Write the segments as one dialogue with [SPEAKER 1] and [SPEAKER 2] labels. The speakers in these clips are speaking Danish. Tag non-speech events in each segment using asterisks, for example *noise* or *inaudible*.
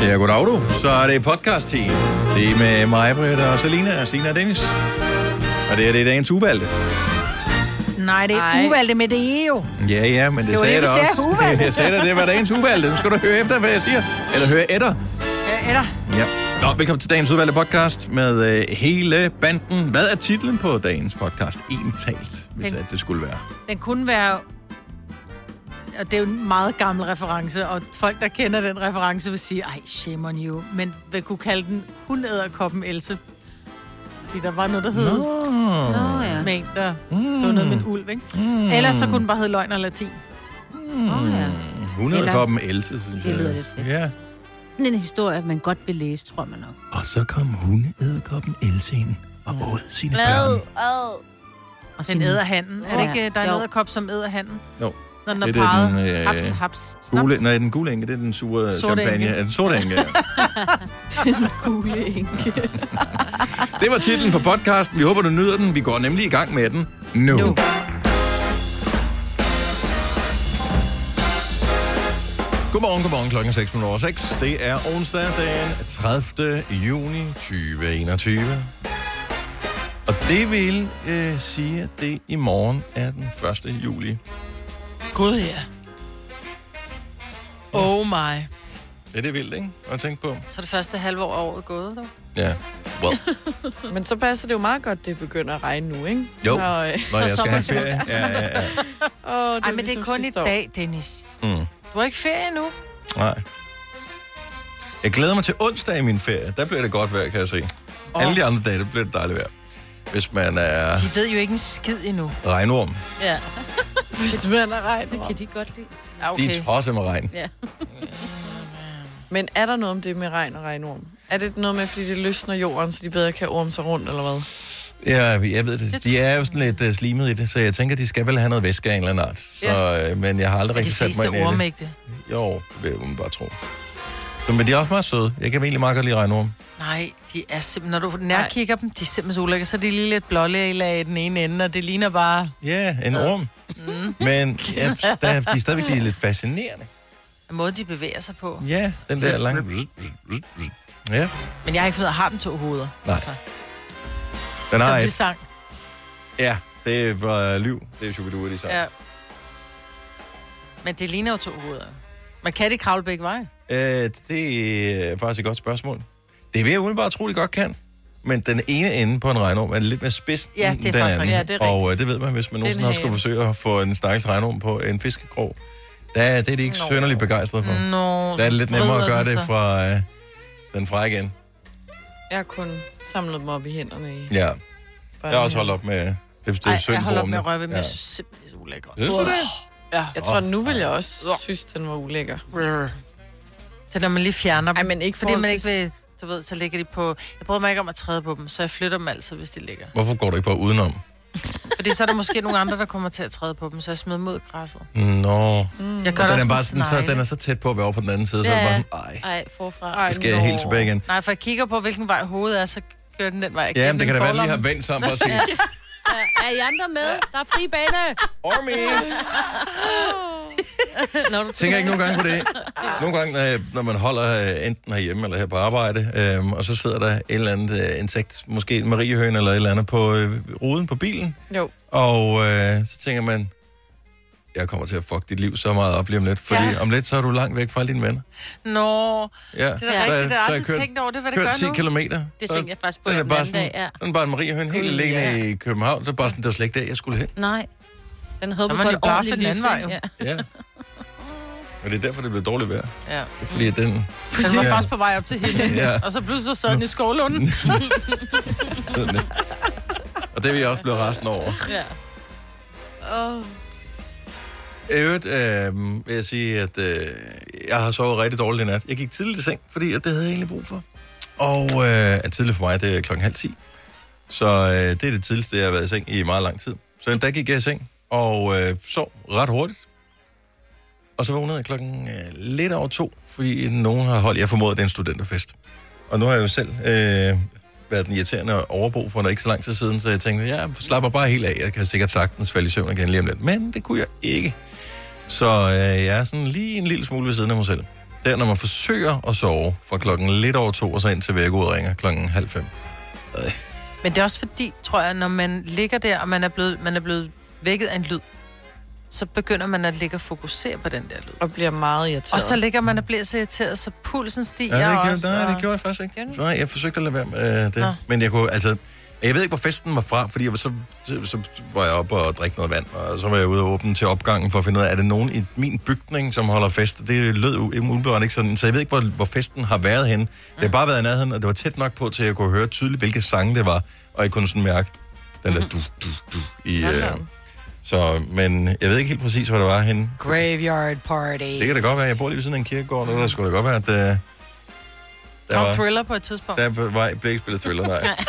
[SPEAKER 1] siger goddag du, så er det podcast-tid. Det er med mig, Britt og Selina og Sina og Dennis. Og det er det dagens uvalgte.
[SPEAKER 2] Nej, det er
[SPEAKER 3] Ej.
[SPEAKER 2] uvalgte med det E, jo.
[SPEAKER 1] Ja, ja, men det,
[SPEAKER 2] Det var
[SPEAKER 1] sagde
[SPEAKER 2] det,
[SPEAKER 1] jeg
[SPEAKER 2] du
[SPEAKER 1] da
[SPEAKER 2] sagde,
[SPEAKER 1] også.
[SPEAKER 2] uvalgte.
[SPEAKER 1] *laughs* jeg sagde da, det var dagens uvalgte. Nu skal du høre efter, hvad jeg siger. Eller høre etter.
[SPEAKER 2] Øh, Eller?
[SPEAKER 1] Ja. Nå, velkommen til dagens udvalgte podcast med øh, hele banden. Hvad er titlen på dagens podcast? En talt, hvis
[SPEAKER 2] Den-
[SPEAKER 1] at det skulle være.
[SPEAKER 2] Den kunne være... Og det er jo en meget gammel reference, og folk, der kender den reference, vil sige, ej, shame on you. Men vil kunne kalde den hundæderkoppen Else. Fordi der var noget, der hed... Nå.
[SPEAKER 3] Nå, ja.
[SPEAKER 2] Med en, der... Mm. Det var noget med en ulv, ikke? Mm. Ellers så kunne den bare hedde løgn og latin.
[SPEAKER 3] Nå, ja.
[SPEAKER 1] 100 koppen Else, synes jeg.
[SPEAKER 3] Det lyder lidt fedt.
[SPEAKER 1] Ja.
[SPEAKER 3] Sådan en historie, man godt vil læse, tror man nok.
[SPEAKER 1] Og så kom hundeæderkoppen Else ind og åd sine børn.
[SPEAKER 3] Og
[SPEAKER 2] Den æder handen. Er det
[SPEAKER 3] Ja.
[SPEAKER 2] ikke, øh, der er en
[SPEAKER 3] Jo.
[SPEAKER 2] æderkop, som æder handen?
[SPEAKER 1] Jo.
[SPEAKER 2] Når den er
[SPEAKER 1] Det er den,
[SPEAKER 2] parret.
[SPEAKER 1] øh,
[SPEAKER 2] haps, haps, snaps.
[SPEAKER 1] Gule, nej, den gule enke, det er den sure
[SPEAKER 2] Sorte
[SPEAKER 1] champagne.
[SPEAKER 2] enke.
[SPEAKER 1] Ja, Den sorte enke, ja.
[SPEAKER 3] *laughs* kugle enke.
[SPEAKER 1] Det var titlen på podcasten. Vi håber, du nyder den. Vi går nemlig i gang med den nu. nu.
[SPEAKER 2] Nu.
[SPEAKER 1] Godmorgen, godmorgen. Klokken er 6 minutter over 6. Det er onsdag den 30. juni 2021. Og det vil øh, sige, at det i morgen er den 1. juli.
[SPEAKER 4] Gud, ja. Oh my.
[SPEAKER 1] Ja, det er vildt, ikke? At tænke på.
[SPEAKER 4] Så er det første halve år af året gået, dog.
[SPEAKER 1] Ja. Well,
[SPEAKER 5] Men så passer det jo meget godt, det begynder at regne nu, ikke?
[SPEAKER 1] Jo.
[SPEAKER 5] Når, øh,
[SPEAKER 2] *laughs*
[SPEAKER 1] når jeg skal have
[SPEAKER 2] sommerferie.
[SPEAKER 1] ferie. Ja, ja, ja.
[SPEAKER 5] åh, det
[SPEAKER 2] Ej, men det ligesom er kun i dag, Dennis.
[SPEAKER 1] Mm.
[SPEAKER 2] Du har ikke ferie nu.
[SPEAKER 1] Nej. Jeg glæder mig til onsdag i min ferie. Der bliver det godt vejr, kan jeg se. Oh. Alle de andre dage, der bliver det dejligt vejr. Hvis man er
[SPEAKER 2] De ved jo ikke en skid endnu.
[SPEAKER 1] regnorm.
[SPEAKER 2] Ja.
[SPEAKER 5] Hvis man er regnet.
[SPEAKER 3] Kan de godt lide?
[SPEAKER 5] Ja,
[SPEAKER 1] Okay. De
[SPEAKER 5] okay.
[SPEAKER 1] er tosset med regn.
[SPEAKER 5] Men er der noget om det med regn og regnorm? Er det noget med, fordi det løsner jorden, så de bedre kan orme sig rundt, eller hvad?
[SPEAKER 1] Ja, jeg ved det. De er jo sådan lidt uh, slimet i det, så jeg tænker, de skal vel have noget væske af en eller anden art. Så, øh, men jeg har aldrig
[SPEAKER 2] De
[SPEAKER 1] rigtig sat mig
[SPEAKER 2] fleste
[SPEAKER 1] ind i det.
[SPEAKER 2] orme ikke det.
[SPEAKER 1] Jo, det vil man bare tro. Så, men de er også meget søde. Jeg kan egentlig meget godt lide regnorm.
[SPEAKER 2] Nej, de er simpelthen, når du nærkigger dem, de er simpelthen så ulækkere. Så er de lige lidt blålægelag i den ene ende, og det ligner bare...
[SPEAKER 1] Ja, en orm. Mm. Men *laughs* ja, der, de er stadigvæk de er lidt fascinerende.
[SPEAKER 2] Måden, de bevæger sig på.
[SPEAKER 1] Ja, den der lange... Ja,
[SPEAKER 2] Men jeg har ikke fundet, har den to hoveder? Altså,
[SPEAKER 1] Nej. den har
[SPEAKER 2] Nej.
[SPEAKER 1] et
[SPEAKER 2] Det sang.
[SPEAKER 1] Ja, det var liv. Det er Shubidua, de sang. Ja.
[SPEAKER 2] Ja. Men det ligner jo to hoveder. Man kan det kravle begge veje.
[SPEAKER 1] Øh, det er faktisk et godt spørgsmål. Det vil jeg udenbart tro, de godt kan. Men den ene ende på en regnorm er lidt mere spids
[SPEAKER 2] Ja,
[SPEAKER 1] end
[SPEAKER 2] det er
[SPEAKER 1] den
[SPEAKER 2] faktisk
[SPEAKER 1] anden.
[SPEAKER 2] rigtigt.
[SPEAKER 5] Ja, det er
[SPEAKER 1] og øh, det ved man, hvis man
[SPEAKER 5] Det er en
[SPEAKER 1] nogensinde har skulle
[SPEAKER 5] hale.
[SPEAKER 1] forsøge at få en stakkels regnorm på en fiskekrog. Der, er- det er de ikke
[SPEAKER 5] Nå.
[SPEAKER 1] sønderligt begejstrede for. Mm.
[SPEAKER 2] Nå,
[SPEAKER 1] Der er det lidt nemmere at gøre
[SPEAKER 2] vrider
[SPEAKER 1] det
[SPEAKER 2] den sig.
[SPEAKER 1] fra øh, den fra igen.
[SPEAKER 5] Jeg har kun samlet dem op i hænderne. I
[SPEAKER 1] Ja, jeg har
[SPEAKER 5] børnehaven.
[SPEAKER 1] også holdt op med... Det, det er
[SPEAKER 2] Ej,
[SPEAKER 1] synd
[SPEAKER 2] jeg holder op
[SPEAKER 1] for
[SPEAKER 2] med at
[SPEAKER 1] ormene.
[SPEAKER 2] røre ved, men
[SPEAKER 1] ja.
[SPEAKER 2] jeg synes simpelthen, det er så ulækkert.
[SPEAKER 1] Synes du det?
[SPEAKER 4] Ja.
[SPEAKER 5] Jeg tror, nu vil jeg også synes, den var ulækker.
[SPEAKER 2] Det er, når man lige fjerner dem.
[SPEAKER 5] Ej, men ikke
[SPEAKER 2] fordi man
[SPEAKER 5] forhold
[SPEAKER 2] ikke
[SPEAKER 5] til-
[SPEAKER 2] vil, du ved, så ligger de på... Jeg prøver mig ikke om at træde på dem, så jeg flytter dem altid, hvis de ligger.
[SPEAKER 1] Hvorfor går du ikke bare udenom?
[SPEAKER 2] Fordi så er der måske nogle andre, der kommer til at træde på dem, så jeg smider dem ud i græsset.
[SPEAKER 1] Nå.
[SPEAKER 2] Mm. Jeg gør
[SPEAKER 1] Og
[SPEAKER 2] det
[SPEAKER 1] den er
[SPEAKER 2] også med
[SPEAKER 1] bare sådan, så,
[SPEAKER 2] snegle.
[SPEAKER 1] den er så tæt på at være over på den anden side, ja. så er det bare, sådan, ej,
[SPEAKER 3] Ej, forfra.
[SPEAKER 5] Ej,
[SPEAKER 1] så skal jeg helt
[SPEAKER 5] nå.
[SPEAKER 1] tilbage igen.
[SPEAKER 2] Nej, for jeg kigger på, hvilken vej hovedet er, så kører den den vej. Jeg
[SPEAKER 1] Ja,
[SPEAKER 2] giver
[SPEAKER 1] men
[SPEAKER 2] den
[SPEAKER 1] det kan da
[SPEAKER 2] en
[SPEAKER 1] være, at lige
[SPEAKER 2] forlomme.
[SPEAKER 1] har vendt sammen for at
[SPEAKER 2] *laughs*
[SPEAKER 1] sige,
[SPEAKER 3] Ja, er I andre med? Der er fri bane.
[SPEAKER 1] Ormi!
[SPEAKER 3] Når du
[SPEAKER 1] Tænker ikke nogle gange på det. Nogle gange, når jeg- når man holder øh, enten herhjemme eller her på arbejde, øhm, og så sidder der et eller andet øh, insekt, måske en mariehøn eller et eller andet, på øh, ruden på bilen,
[SPEAKER 5] Jo.
[SPEAKER 1] og øh, så tænker man, jeg kommer til at fuck dit liv så meget op lige om lidt, fordi ja.
[SPEAKER 2] Ja.
[SPEAKER 1] om lidt, så er du langt væk fra alle dine venner.
[SPEAKER 2] Nå, det
[SPEAKER 1] Ja,
[SPEAKER 2] er da
[SPEAKER 1] så
[SPEAKER 2] rigtigt. Det
[SPEAKER 1] så
[SPEAKER 2] har jeg
[SPEAKER 1] jeg
[SPEAKER 2] aldrig
[SPEAKER 1] kørt-
[SPEAKER 2] tænkt over. Det er, hvad det
[SPEAKER 1] kørt 10
[SPEAKER 2] gør nu.
[SPEAKER 1] kilometer.
[SPEAKER 3] Det
[SPEAKER 1] så
[SPEAKER 3] tænkte jeg faktisk på
[SPEAKER 1] den er
[SPEAKER 3] den
[SPEAKER 1] bare
[SPEAKER 3] anden
[SPEAKER 1] sådan,
[SPEAKER 3] dag, ja.
[SPEAKER 1] sådan bare en mariehøn, helt
[SPEAKER 3] Gud,
[SPEAKER 1] alene
[SPEAKER 3] ja.
[SPEAKER 1] i København, så bare sådan, det var slet ikke der, jeg skulle hen.
[SPEAKER 3] Nej. Den
[SPEAKER 2] Så
[SPEAKER 3] håber
[SPEAKER 2] er
[SPEAKER 3] på
[SPEAKER 2] man
[SPEAKER 3] et
[SPEAKER 2] jo bare
[SPEAKER 3] ordentligt
[SPEAKER 2] for den anden
[SPEAKER 3] liv,
[SPEAKER 2] vej, jo.
[SPEAKER 3] Ja. *laughs*
[SPEAKER 1] Ja. Og det er derfor, det blev dårligt vejr. Det
[SPEAKER 2] Ja.
[SPEAKER 1] er fordi, at den
[SPEAKER 3] Mm.
[SPEAKER 2] Den var
[SPEAKER 1] Ja.
[SPEAKER 2] faktisk på vej op til hende,
[SPEAKER 1] Ja.
[SPEAKER 2] ja. og så pludselig så sad den i
[SPEAKER 1] *laughs*
[SPEAKER 2] skovlunden.
[SPEAKER 3] *laughs*
[SPEAKER 1] sidder ned. Og det vil jeg også blive resten over.
[SPEAKER 3] ja.
[SPEAKER 1] I øvrigt øh, vil jeg sige, at øh, jeg har sovet rigtig dårligt i nat. Jeg gik tidligt i seng, fordi at det havde jeg egentlig brug for. Og øh, at tidligt for mig, det er klokken halv ti. Så øh, det er det tidligste, jeg har været i seng i meget lang tid. Så der gik jeg i seng og øh, sov ret hurtigt. Og så vågnede jeg klokken øh, lidt over to, fordi nogen har holdt, jeg formoder, det er en studenterfest. Og nu har jeg jo selv øh, været den irriterende overbo for ikke så lang tid siden, så jeg tænkte, jeg slapper bare helt af, jeg kan sikkert sagtens falde i søvn igen lige om lidt. Men det kunne jeg ikke. Så øh, jeg er sådan lige en lille smule ved siden af mig selv. Det er, når man forsøger at sove fra klokken lidt over to, og så ind til vækkeuret ringer klokken halv fem.
[SPEAKER 2] Men det er også fordi, tror jeg, når man ligger der, og man er blevet, man er blevet vækket af en lyd, så begynder man at ligge og fokusere på den der lyd.
[SPEAKER 5] Og bliver meget irriteret.
[SPEAKER 2] Og så ligger man og bliver så irriteret, så pulsen stiger
[SPEAKER 1] Ja, det gjorde,
[SPEAKER 2] også.
[SPEAKER 1] nej,
[SPEAKER 2] og-
[SPEAKER 1] det gjorde jeg faktisk ikke.
[SPEAKER 2] Gjorde du?
[SPEAKER 1] Nej, jeg forsøgte at lade være med øh, det.
[SPEAKER 2] Nå.
[SPEAKER 1] Men jeg kunne, altså... Jeg ved ikke, hvor festen var fra, fordi jeg var så, så, så var jeg oppe og drikke noget vand, og så var jeg ude og åbne til opgangen for at finde ud af, er det nogen i min bygning, som holder fest? Det lød u- umiddelbart ikke sådan, så jeg ved ikke, hvor, hvor festen har været henne. Det har bare været i nærheden, og det var tæt nok på, til at jeg kunne høre tydeligt, hvilke sange det var, og jeg kunne sådan mærke den der
[SPEAKER 2] Mhm.
[SPEAKER 1] du, du, du i... Øh, så, men jeg ved ikke helt præcis, hvor det var henne.
[SPEAKER 2] Graveyard party.
[SPEAKER 1] Det kan da godt være, jeg bor lige ved siden af en kirkegård, og der skulle da godt være, at... Øh, der
[SPEAKER 2] Kom thriller på et tidspunkt.
[SPEAKER 1] der var, blev ikke spillet thriller, nej. *laughs*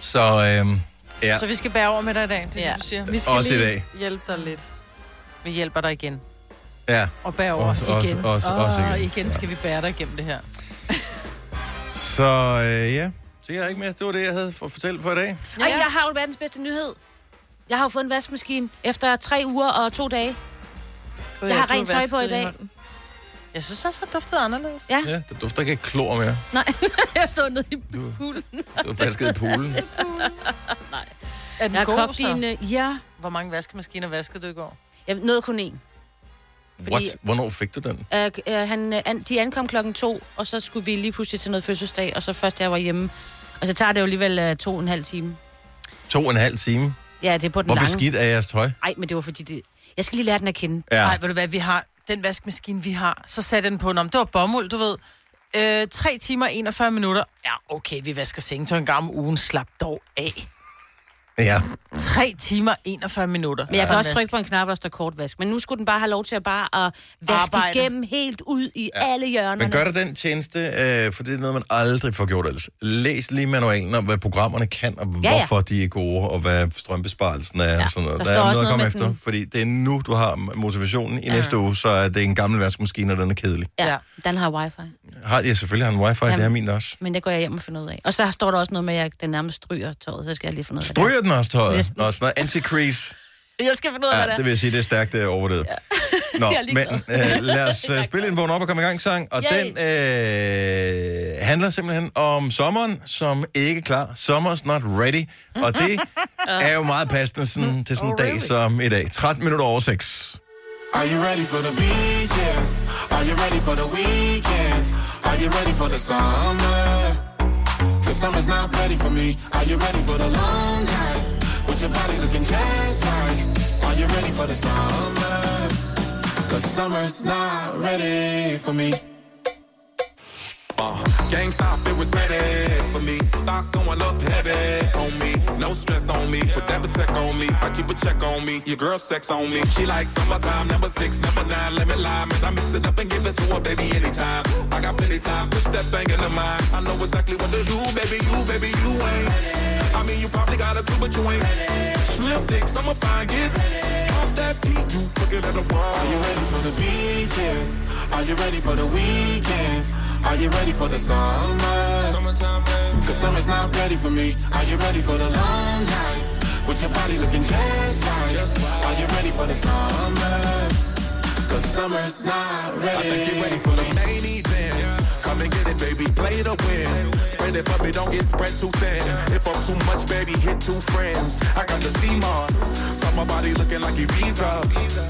[SPEAKER 1] så øhm, ja,
[SPEAKER 2] Så vi skal bære over med dig i dag, det er
[SPEAKER 5] Ja.
[SPEAKER 2] det, du siger.
[SPEAKER 5] Vi skal
[SPEAKER 1] Også i
[SPEAKER 5] lige
[SPEAKER 1] dag.
[SPEAKER 5] hjælpe dig lidt.
[SPEAKER 2] Vi hjælper dig igen.
[SPEAKER 1] ja.
[SPEAKER 2] Og bære over
[SPEAKER 1] Også- også-
[SPEAKER 2] igen.
[SPEAKER 1] også- også
[SPEAKER 2] Åh,
[SPEAKER 1] igen.
[SPEAKER 2] igen skal vi bære dig igennem det her.
[SPEAKER 1] Så øh, ja, så jeg er ikke mere. Det var det, jeg havde for at fortælle for i dag.
[SPEAKER 3] Ej, jeg har jo verdens bedste nyhed. Jeg har jo fået en vaskemaskine efter tre uger og to dage. Jeg har
[SPEAKER 5] tog
[SPEAKER 3] rent tøj på i
[SPEAKER 5] vasken
[SPEAKER 3] dag.
[SPEAKER 5] hånden.
[SPEAKER 2] Jeg synes også, at det duftede anderledes.
[SPEAKER 3] Ja.
[SPEAKER 1] Ja, der dufter ikke af klor mere.
[SPEAKER 3] Nej, *laughs* jeg stod nede i poolen.
[SPEAKER 1] Det var falsket i poolen.
[SPEAKER 2] Er den
[SPEAKER 3] Jeg har
[SPEAKER 2] god,
[SPEAKER 3] kogt
[SPEAKER 2] så?
[SPEAKER 3] din... øh, Ja,
[SPEAKER 2] Hvor mange vaskemaskiner vaskede du i går?
[SPEAKER 3] jeg nåede kun én.
[SPEAKER 1] What? Hvornår fik du den?
[SPEAKER 3] Øh, øh, han, øh, an, de ankom klokken to, og så skulle vi lige pludselig til noget fødselsdag, og så først da jeg var hjemme. Og så tager det jo alligevel øh, to og en halv time.
[SPEAKER 1] To og en halv time.
[SPEAKER 3] Ja, det er på den
[SPEAKER 1] Hvor
[SPEAKER 3] lange.
[SPEAKER 1] beskidt er jeres tøj?
[SPEAKER 3] Ej, men det var fordi det... Jeg skal lige lære den at kende.
[SPEAKER 1] Ja.
[SPEAKER 2] Nej, ved du hvad, vi har den vaskemaskine, vi har. Så satte jeg den på, om det var bomuld, du ved. Øh, 3 timer og 41 minutter. Ja, okay, vi vasker sengetøj en gang om ugen. Slap dog af.
[SPEAKER 1] ja.
[SPEAKER 2] 3 timer og 41 minutter.
[SPEAKER 3] Men jeg kan
[SPEAKER 2] Ja.
[SPEAKER 3] også trykke på en knap, der står kort vask. Men nu skulle den bare have lov til at bare at vaske
[SPEAKER 2] Arbejde.
[SPEAKER 3] Arbejde. igennem helt ud i ja. alle hjørnerne.
[SPEAKER 1] Men gør dig den tjeneste, øh, for det er noget, man aldrig får gjort ellers. Læs lige manualen om, hvad programmerne kan, og ja,
[SPEAKER 3] Ja,
[SPEAKER 1] ja.
[SPEAKER 3] ja.
[SPEAKER 1] hvorfor de er gode, og hvad strømbesparelsen er. Ja, og sådan noget.
[SPEAKER 3] der
[SPEAKER 1] Der, der
[SPEAKER 3] står
[SPEAKER 1] er
[SPEAKER 3] også
[SPEAKER 1] noget at komme
[SPEAKER 3] noget med
[SPEAKER 1] efter,
[SPEAKER 3] den.
[SPEAKER 1] fordi det er nu, du har motivationen. I ja. næste uge, så er det en gammel vaskemaskine, og den er kedelig.
[SPEAKER 3] Ja,
[SPEAKER 2] Ja.
[SPEAKER 3] den har wifi.
[SPEAKER 1] Har, ja, selvfølgelig har den wifi, Jamen. det er min også.
[SPEAKER 3] Men det går jeg hjem og finder ud af. Og så står der også noget med, at jeg- den nærmest stryger tøjet, så skal jeg lige finde ud af det.
[SPEAKER 1] Stryger den også tøjet?
[SPEAKER 3] Næsten.
[SPEAKER 1] Nå, sådan noget anti-crease.
[SPEAKER 3] Jeg skal finde ud af,
[SPEAKER 1] Ja,
[SPEAKER 3] hvad
[SPEAKER 1] det vil jeg sige, det er stærkt øh, overdrevet. Ja.
[SPEAKER 3] *laughs*
[SPEAKER 1] Nå,
[SPEAKER 3] Jeg er
[SPEAKER 1] men
[SPEAKER 3] ligeglad.
[SPEAKER 1] øh, lad
[SPEAKER 3] *laughs*
[SPEAKER 1] os øh, spille en vågen op og komme i gang sang, og
[SPEAKER 3] Yay.
[SPEAKER 1] den øh, handler simpelthen om sommeren, som ikke er klar. Summer's not ready, og
[SPEAKER 3] *laughs*
[SPEAKER 1] det er jo meget passende
[SPEAKER 3] Mm.
[SPEAKER 1] sådan, til sådan
[SPEAKER 3] Oh,
[SPEAKER 1] en dag som i dag. 13 minutter over 6.
[SPEAKER 6] Are you ready for the beaches? Are you ready for the weekends? Are you ready for the summer? The summer's not ready for me. Are you ready for the long nights? With your body looking just right. Are you ready for the summer? Cause summer's not ready for me. Uh, gang stop, it was ready for me. Stock going up heavy on me. No stress on me, put that protect on me. I keep a check on me. Your girl sex on me. She like summertime, number six, number nine. Let me lie, man. I mix it up and give it to her, baby, anytime. I got plenty time, push that thing in the mind. I know exactly what to do, baby. You, baby, you ain't. I mean, you probably got a crew, but you ain't. Slim dicks, I'ma find it. Off that beat, you looking at the wall. Are you ready for the beaches? Are you ready for the weekends? Are you ready for the summer? Summertime, Cause summer's not ready for me. Are you ready for the long nights? With your body looking just right. Are you ready for the summer? Cause summer's not ready. I think you're ready for the main event. Come and get it, baby. Play to win. Spread it for me, don't get spread too thin. If I'm too much, baby, hit two friends. I got the sea moss. Saw my body looking like Ibiza.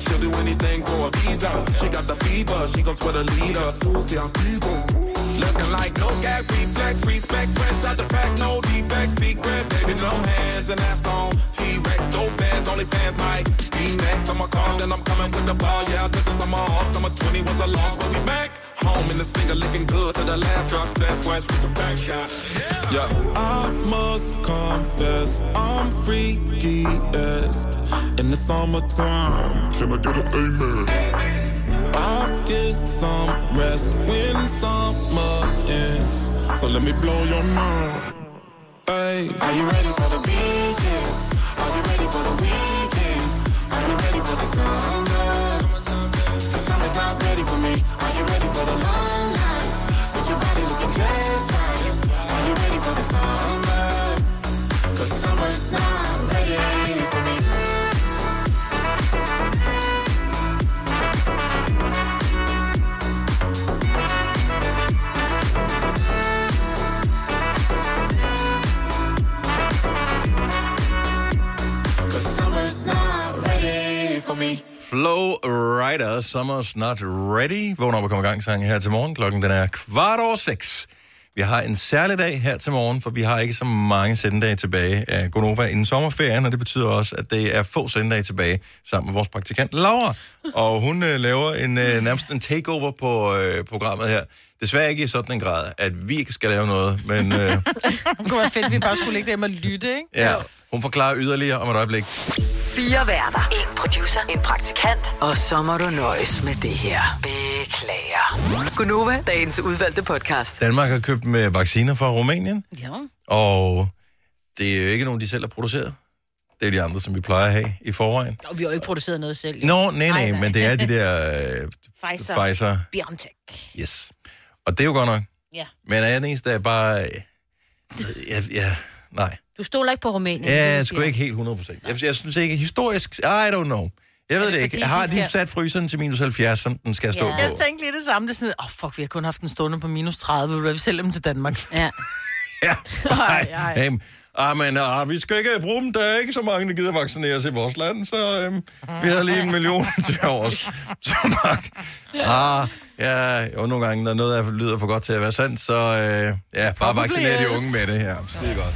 [SPEAKER 6] She'll do anything for a visa. She got the fever. She gon' sweat a leader. Susie, I'm fever. Looking like no gag reflex, respect fresh out the pack, no defect, secret, baby, no hands, and that's on T-Rex, dope fans, only fans might be next. I'ma call, then I'm coming with the ball, yeah, I took the summer off, summer 20 was a loss, but we back home, and this finger looking good to the last drop, that's west with the back shot, yeah. I must confess, I'm freakiest in the summertime. Can I get an amen? I'll get some rest when summer ends. So let me blow your mind. Hey. Are you ready for the beaches? Are you ready for the weekends? Are you ready for the summer? The summer's not ready for me. Are you ready for the long nights? With your body looking just right. Are you ready for the summer? Cause summer's not ready for me.
[SPEAKER 1] Flow Rider, Summer's Not Ready. Vågn op og kom i gang sang her til morgen. Klokken den er kvart over seks. Vi har en særlig dag her til morgen, for vi har ikke så mange sendedage tilbage af Gonova inden sommerferien, og det betyder også, at det er få sendedage tilbage sammen med vores praktikant Laura. Og hun øh, laver en, øh, nærmest en takeover på øh, programmet her. Desværre ikke i sådan en grad, at vi ikke skal lave noget, men øh,
[SPEAKER 2] Det kunne være fedt, at vi bare skulle ligge derhjemme og lytte, ikke?
[SPEAKER 1] ja, hun forklarer yderligere om et øjeblik.
[SPEAKER 7] Fire værter. En producer. En praktikant. Og så må du nøjes med det her. Beklager. Gunova, dagens udvalgte podcast.
[SPEAKER 1] Danmark har købt med vacciner fra Rumænien.
[SPEAKER 3] Ja.
[SPEAKER 1] Og det er jo ikke nogen, de selv har produceret. Det er de andre, som vi plejer at have i forvejen.
[SPEAKER 3] Og vi har jo ikke produceret noget selv. jo.
[SPEAKER 1] Nå, nej, nej,
[SPEAKER 3] nej.
[SPEAKER 1] men det er de der øh,
[SPEAKER 3] Pfizer.
[SPEAKER 1] Pfizer.
[SPEAKER 3] Biontech.
[SPEAKER 1] Yes. Og det er jo godt nok.
[SPEAKER 3] Ja.
[SPEAKER 1] Men er jeg den eneste, der er bare... Øh, ja, ja, nej.
[SPEAKER 3] Du stoler ikke på Rumænien. det er
[SPEAKER 1] Ja,
[SPEAKER 3] det,
[SPEAKER 1] jeg
[SPEAKER 3] du
[SPEAKER 1] er sgu
[SPEAKER 3] siger.
[SPEAKER 1] ikke helt 100 procent. Jeg, jeg synes ikke, historisk... I don't know. Jeg ved
[SPEAKER 2] det
[SPEAKER 1] det,
[SPEAKER 2] fordi,
[SPEAKER 1] ikke. Har
[SPEAKER 2] de
[SPEAKER 1] de
[SPEAKER 2] skal-
[SPEAKER 1] sat fryseren til minus 70, som den skal stå
[SPEAKER 3] Ja.
[SPEAKER 1] på?
[SPEAKER 2] Jeg tænkte lige det samme. Det er sådan, åh oh, fuck, vi har kun haft en stående på minus 30. Vil du hvad, vi sælge dem til Danmark?
[SPEAKER 3] Ja.
[SPEAKER 1] Ja. Nej,
[SPEAKER 2] ej.
[SPEAKER 1] nej. Ah, men ah, vi skal ikke bruge dem. Der er ikke så mange, der gider vaccinere sig i vores land, så øhm, vi har lige en million *laughs* til os. Så mange. Ah, ja, og nogle gange, når noget er, lyder for godt til at være sandt, så øh, ja, bare vaccinere de unge med det her. Det er godt.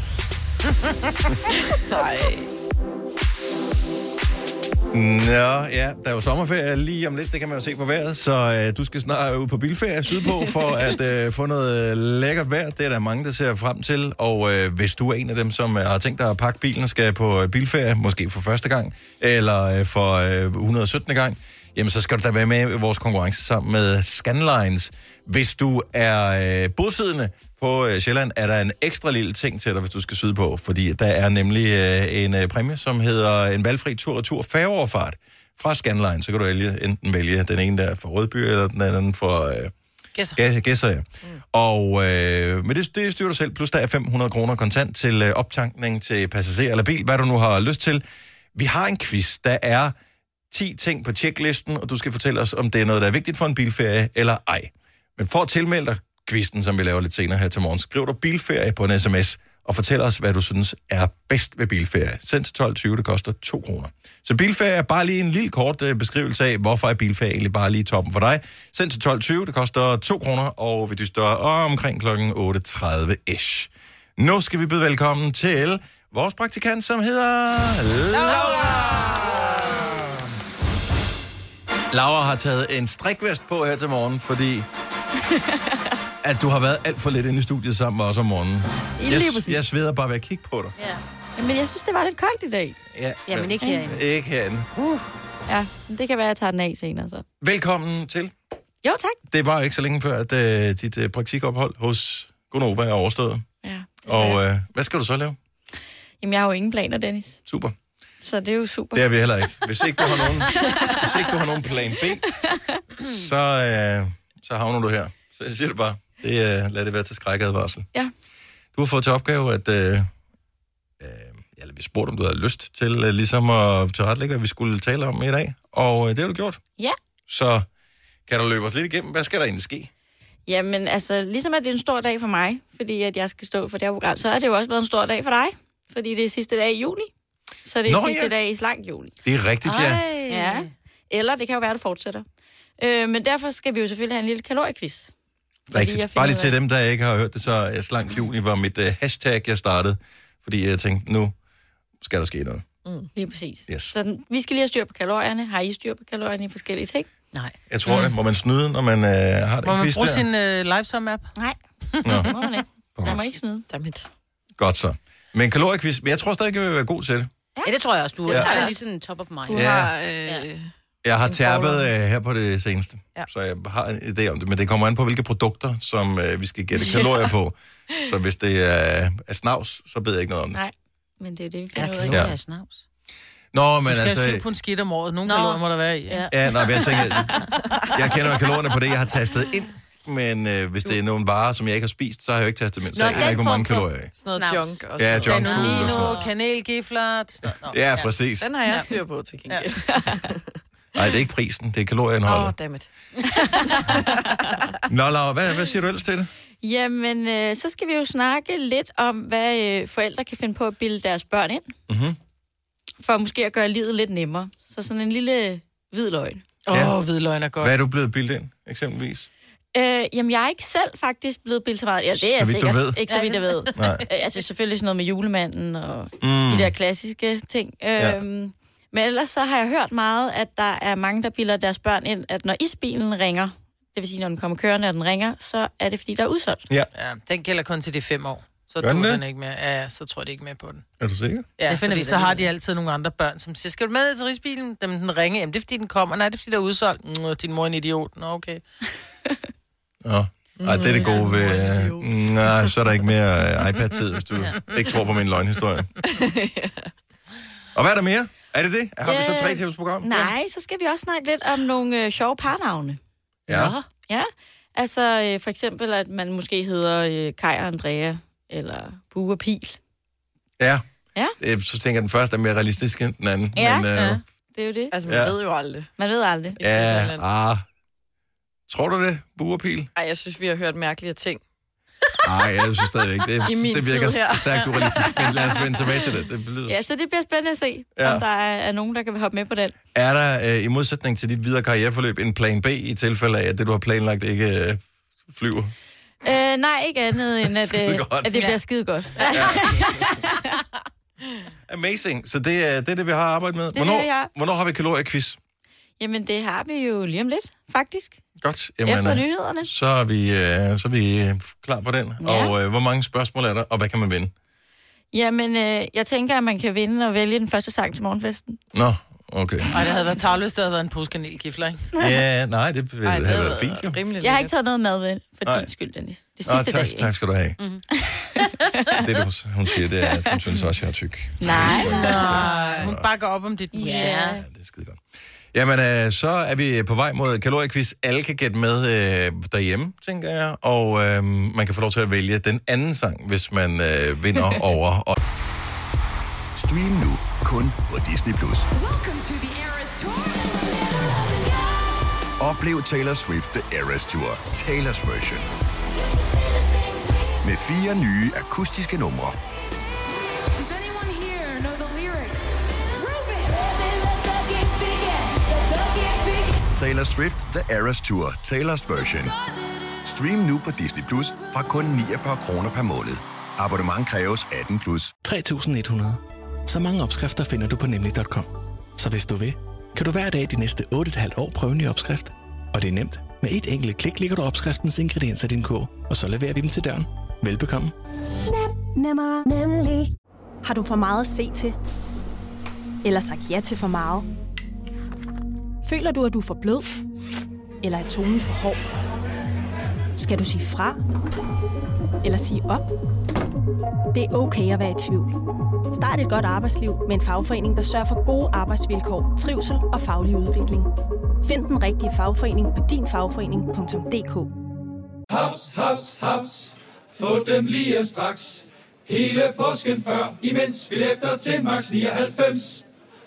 [SPEAKER 1] Nå, ja, der er jo sommerferie lige om lidt, det kan man jo se på vejret, så øh, du skal snart ud på bilferie sydpå for at øh, få noget øh, lækkert vejr. Det er der mange, der ser frem til, og øh, hvis du er en af dem, som øh, har tænkt dig at pakke bilen og skal på øh, bilferie, måske for første gang, eller øh, for øh, 117. gang, jamen så skal du da være med i vores konkurrence sammen med Scanlines. Hvis du er øh, bosiddende på øh, Sjælland, er der en ekstra lille ting til dig, hvis du skal sydpå, fordi der er nemlig øh, en øh, præmie, som hedder en valgfri tur-retur færgeoverfart fra Scanline. Så kan du vælge, enten vælge den ene, der er fra Rødby, eller den anden fra øh,
[SPEAKER 2] Gæsser.
[SPEAKER 1] Gæ- Gæsser. Ja. Mm. Og, øh, men det, det styrer du selv, plus der er 500 kroner kontant til øh, optankning til passager eller bil, hvad du nu har lyst til. Vi har en quiz, der er 10 ting på checklisten, og du skal fortælle os, om det er noget, der er vigtigt for en bilferie eller ej. Men for at tilmelde dig quizzen, som vi laver lidt senere her til morgen, skriv du bilferie på en sms, og fortæl os, hvad du synes er bedst ved bilferie. Send til 12.20, det koster 2 kroner. Så bilferie er bare lige en lille kort øh, beskrivelse af, hvorfor er bilferie egentlig bare lige toppen for dig. Send til 12.20, det koster 2 kroner, og vi dyster omkring kl. 8.30-ish. Nu skal vi byde velkommen til vores praktikant, som hedder Laura. Laura har taget en strikvest på her til morgen, fordi at du har været alt for lidt inde i studiet sammen med os om morgenen. Jeg,
[SPEAKER 8] lige præcis.
[SPEAKER 1] jeg sveder bare ved at kigge på dig.
[SPEAKER 3] ja.
[SPEAKER 8] Men jeg synes, det var lidt koldt i dag.
[SPEAKER 1] Ja,
[SPEAKER 3] Jamen ikke herinde.
[SPEAKER 1] Ikke herinde.
[SPEAKER 8] Ja, men det kan være, at jeg tager den af senere så.
[SPEAKER 1] Velkommen til.
[SPEAKER 8] Jo, tak.
[SPEAKER 1] Det var jo ikke så længe før, at uh, dit uh, praktikophold hos Gunova er overstået.
[SPEAKER 8] Ja,
[SPEAKER 1] Og
[SPEAKER 8] og, øh...
[SPEAKER 1] uh, hvad skal du så lave?
[SPEAKER 8] Jamen, jeg har jo ingen planer, Dennis.
[SPEAKER 1] Super.
[SPEAKER 8] Så det er jo super.
[SPEAKER 1] Det er vi heller ikke. Hvis ikke du har nogen, hvis ikke du har nogen plan B, så, uh, så havner du her. Så jeg siger det bare. Det, uh, lad det være til skrækadvarsel.
[SPEAKER 8] Ja.
[SPEAKER 1] Du har fået til opgave, at... Øh, øh, eller vi spurgte, om du havde lyst til øh, ligesom at tilrettelægge, hvad vi skulle tale om i dag. Og øh, det har du gjort.
[SPEAKER 8] Ja.
[SPEAKER 1] Så kan du løbe os lidt igennem. Hvad skal der egentlig ske?
[SPEAKER 8] Jamen, altså, ligesom at det er en stor dag for mig, fordi at jeg skal stå for det her program, så har det jo også været en stor dag for dig, fordi det er sidste dag i juni. Så det er
[SPEAKER 1] Nå,
[SPEAKER 8] Nå,
[SPEAKER 1] ja.
[SPEAKER 8] sidste ja. dag i slank juni.
[SPEAKER 1] Det er rigtigt, ja.
[SPEAKER 3] Ej.
[SPEAKER 8] Ja. Eller det kan jo være, at det fortsætter. Øh, men derfor skal vi jo selvfølgelig have en lille kaloriequiz. jeg
[SPEAKER 1] Rigtigt.
[SPEAKER 8] finder
[SPEAKER 1] Bare lige
[SPEAKER 8] ud
[SPEAKER 1] til dem, der ikke har hørt det, så øh, slank juni var mit øh, hashtag, jeg startede. Fordi jeg tænkte, nu skal der ske noget.
[SPEAKER 8] Lige præcis.
[SPEAKER 1] Yes.
[SPEAKER 8] Så den- vi skal lige have styr på kalorierne. Har I styr på kalorierne i forskellige ting?
[SPEAKER 3] Nej.
[SPEAKER 1] Jeg tror mm. det. Må man snyde, når man øh, har det
[SPEAKER 2] Må man
[SPEAKER 1] quiz
[SPEAKER 2] bruge
[SPEAKER 1] der?
[SPEAKER 2] sin uh, Lifetime-app?
[SPEAKER 8] Nej,
[SPEAKER 1] Nå,
[SPEAKER 8] *laughs* må man ikke. Man må ikke snyde.
[SPEAKER 5] Dammit.
[SPEAKER 1] godt så. Men kaloriequiz, men jeg tror stadig, jeg vil være god til det.
[SPEAKER 3] Ja, det tror jeg også, du er.
[SPEAKER 1] Ja.
[SPEAKER 2] ligesom,
[SPEAKER 3] Ja. Det er lige sådan top of mind.
[SPEAKER 5] Du
[SPEAKER 1] Ja.
[SPEAKER 5] ja. har... Øh,
[SPEAKER 1] Jeg har
[SPEAKER 5] En
[SPEAKER 1] tærpet
[SPEAKER 5] forlom.
[SPEAKER 1] øh, her på det seneste, ja.
[SPEAKER 5] Ja.
[SPEAKER 1] så jeg har en idé om det. Men det kommer an på, hvilke produkter, som øh, vi skal gætte kalorier på. Så hvis det er, er snavs, så ved jeg ikke noget om det.
[SPEAKER 8] Nej, men det er jo det, vi
[SPEAKER 3] Er
[SPEAKER 8] finder ud
[SPEAKER 3] der
[SPEAKER 8] af.
[SPEAKER 3] kalorier i snavs?
[SPEAKER 1] Nå, men
[SPEAKER 2] Du skal have syv
[SPEAKER 1] altså...
[SPEAKER 2] pund skidt om året. Nogle
[SPEAKER 3] Nå.
[SPEAKER 2] kalorier må der være i.
[SPEAKER 3] Ja.
[SPEAKER 1] Ja, nej, men jeg tænker, jeg kender jo kalorierne på det, jeg har tastet ind. Men øh, hvis det er nogle varer, som jeg ikke har spist, så har jeg jo ikke tastet dem ind. Så
[SPEAKER 3] Nå,
[SPEAKER 1] jeg aner
[SPEAKER 3] den
[SPEAKER 1] ikke, hvor mange
[SPEAKER 3] form for-
[SPEAKER 1] kalorier jeg
[SPEAKER 5] sådan noget
[SPEAKER 3] Snavs.
[SPEAKER 5] junk og
[SPEAKER 1] Ja,
[SPEAKER 5] sådan noget.
[SPEAKER 1] junk food og sådan
[SPEAKER 2] Danonino,
[SPEAKER 1] noget.
[SPEAKER 2] kanelgifler. t- Nå, nå.
[SPEAKER 1] Ja, præcis.
[SPEAKER 5] Den har jeg styr på til gengæld.
[SPEAKER 1] Nej, det er ikke prisen, det
[SPEAKER 5] Åh,
[SPEAKER 1] er
[SPEAKER 5] oh,
[SPEAKER 1] kalorieindholdet.
[SPEAKER 5] dammit.
[SPEAKER 1] Nå, Laura, hvad, hvad siger du ellers til det?
[SPEAKER 8] Jamen, øh, så skal vi jo snakke lidt om, hvad øh, forældre kan finde på at
[SPEAKER 1] Mhm.
[SPEAKER 8] bilde deres børn ind. Mm-hmm. For måske at gøre livet lidt nemmere. Så sådan en lille hvidløgn.
[SPEAKER 2] Åh, ja. oh, hvidløgn er godt.
[SPEAKER 1] Hvad er du blevet bildt ind, eksempelvis?
[SPEAKER 8] Øh, jamen, jeg er ikke selv faktisk blevet bildt så meget. Ja, det er jeg
[SPEAKER 1] vidt du
[SPEAKER 8] sikkert.
[SPEAKER 1] ved.
[SPEAKER 8] Ikke så vidt jeg ved. *laughs*
[SPEAKER 1] Nej.
[SPEAKER 8] Øh, altså, selvfølgelig sådan noget med julemanden og
[SPEAKER 1] Mm.
[SPEAKER 8] de der klassiske ting.
[SPEAKER 1] Ja.
[SPEAKER 8] Øhm, men ellers så har jeg hørt meget, at der er mange, der bilder deres børn ind, at når isbilen ringer, det vil sige, når den kommer kørende, og den ringer, så er det, fordi der er udsolgt.
[SPEAKER 1] Ja,
[SPEAKER 2] Ja, den gælder kun til de fem år. Så
[SPEAKER 1] Gør den
[SPEAKER 2] tror
[SPEAKER 1] det?
[SPEAKER 2] den ikke med. Ja, så tror jeg de ikke med på den.
[SPEAKER 1] er du
[SPEAKER 2] Ja,
[SPEAKER 1] sikker?
[SPEAKER 3] Det
[SPEAKER 2] det
[SPEAKER 3] finder
[SPEAKER 2] finder fordi
[SPEAKER 3] vi da
[SPEAKER 2] så
[SPEAKER 3] lige
[SPEAKER 2] har
[SPEAKER 3] ud
[SPEAKER 2] de altid nogle andre børn, som siger, skal du med ned til rigsbilen? Dem den ringer, jamen det er fordi den kommer. Nej, det er fordi der er udsolgt. Mm, din mor er en idiot. Nå, okay.
[SPEAKER 1] Nå. Ej, det er det gode ved... øh,
[SPEAKER 8] Mm.
[SPEAKER 1] Nej, så er der ikke mere øh, iPad-tid, hvis du ikke tror på min
[SPEAKER 8] *laughs*
[SPEAKER 1] løgnhistorie. Og hvad er der mere? Er det det? Har vi så tre
[SPEAKER 8] Øh,
[SPEAKER 1] tips program?
[SPEAKER 8] Nej, så skal vi også snakke lidt om nogle øh, sjove parnavne.
[SPEAKER 1] Ja.
[SPEAKER 8] Ja, altså øh, for eksempel, at man måske hedder øh, Kai og Andrea, eller Bue og Pil.
[SPEAKER 1] Ja.
[SPEAKER 8] Ja.
[SPEAKER 1] Øh, Så tænker jeg, den første er mere realistisk end den anden.
[SPEAKER 8] Ja,
[SPEAKER 1] men, øh,
[SPEAKER 8] ja. Det er jo det.
[SPEAKER 5] Altså, man
[SPEAKER 1] Ja.
[SPEAKER 5] ja. ved jo aldrig.
[SPEAKER 8] Man ved aldrig.
[SPEAKER 1] ja ah. Tror du det, buerpil?
[SPEAKER 5] Ej, jeg synes, vi har hørt mærkelige ting.
[SPEAKER 1] Nej, jeg synes stadigvæk. Det,
[SPEAKER 5] I min
[SPEAKER 1] det virker
[SPEAKER 5] tid her.
[SPEAKER 1] stærkt urealistisk, men lad os vende tilbage til det. det lyder.
[SPEAKER 8] Ja, så det bliver spændende at se,
[SPEAKER 1] Ja.
[SPEAKER 8] ja. om der er, er nogen, der kan hoppe med på den.
[SPEAKER 1] Er der, øh, i modsætning til dit videre karriereforløb, en plan B i tilfælde af, at det, du har planlagt, ikke øh, flyver?
[SPEAKER 8] Øh, nej, ikke andet end,
[SPEAKER 1] *laughs*
[SPEAKER 8] at, øh,
[SPEAKER 1] Skidegodt.
[SPEAKER 8] at det bliver skide godt. Ja,
[SPEAKER 1] Amazing. Så det er det, er det vi har arbejdet med.
[SPEAKER 8] er det,
[SPEAKER 1] Hvornår,
[SPEAKER 8] vi har.
[SPEAKER 1] hvornår har vi kaloriequiz?
[SPEAKER 8] Jamen, det har vi jo lige om lidt, faktisk.
[SPEAKER 1] Godt.
[SPEAKER 8] Efter
[SPEAKER 1] øh,
[SPEAKER 8] nyhederne.
[SPEAKER 1] så er vi, øh, så er vi øh, klar på den.
[SPEAKER 8] Ja.
[SPEAKER 1] Og øh, hvor mange spørgsmål er der, og hvad kan man vinde?
[SPEAKER 8] Jamen, øh, jeg tænker, at man kan vinde og vælge den første sang til morgenfesten.
[SPEAKER 1] Nå,
[SPEAKER 8] *laughs*
[SPEAKER 1] okay.
[SPEAKER 2] Ej, det havde været tavløst, der havde været en pose kanelgifler, ikke?
[SPEAKER 1] Ja, nej, det ville
[SPEAKER 5] Ej,
[SPEAKER 1] have været fint, jo.
[SPEAKER 5] Rimelig
[SPEAKER 8] Jeg har ikke taget noget mad med, for
[SPEAKER 1] Nej.
[SPEAKER 8] din skyld, Dennis. Det
[SPEAKER 1] Nå,
[SPEAKER 8] sidste
[SPEAKER 1] tak,
[SPEAKER 8] dag. Mhm. ikke?
[SPEAKER 1] tak skal du have. Mm. det, du, hun siger, det er, at hun synes også, jeg er tyk.
[SPEAKER 8] Nej,
[SPEAKER 2] Nej. Hun bakker op om dit musik.
[SPEAKER 1] Ja, det er skide godt. Jamen, øh, så er vi på vej mod kaloriequiz. Alle kan gætte med øh, derhjemme, tænker jeg. Og øh, man kan få lov til at vælge den anden sang, hvis man øh,
[SPEAKER 9] *laughs*
[SPEAKER 1] vinder over. Og
[SPEAKER 10] Stream nu kun på Disney+. Plus. Oplev Taylor Swift The Eras Tour, Taylor's version. Med fire nye akustiske numre. Taylor Swift The Eras Tour, Taylor's version. Stream nu på Disney Plus fra kun 49 kroner per måned. Abonnement kræves 18 plus.
[SPEAKER 9] 3100. Så mange opskrifter finder du på nemlig.com. Så hvis du vil, kan du hver dag de næste 8,5 år prøve en ny opskrift. Og det er nemt. Med et enkelt klik ligger du opskriftens ingredienser i din kog, og så leverer vi dem til døren. Velbekomme.
[SPEAKER 11] Nemmer, nemlig. Har du for meget at se til? Eller sagt ja til for meget? Føler du, at du er for blød? Eller er tonen for hård? Skal du sige fra? Eller sige op? Det er okay at være i tvivl. Start et godt arbejdsliv med en fagforening, der sørger for gode arbejdsvilkår, trivsel og faglig udvikling. Find den rigtige fagforening på dinfagforening.dk.
[SPEAKER 12] Haps, haps, haps. Få dem lige straks. Hele påsken før, imens billetter til max 99.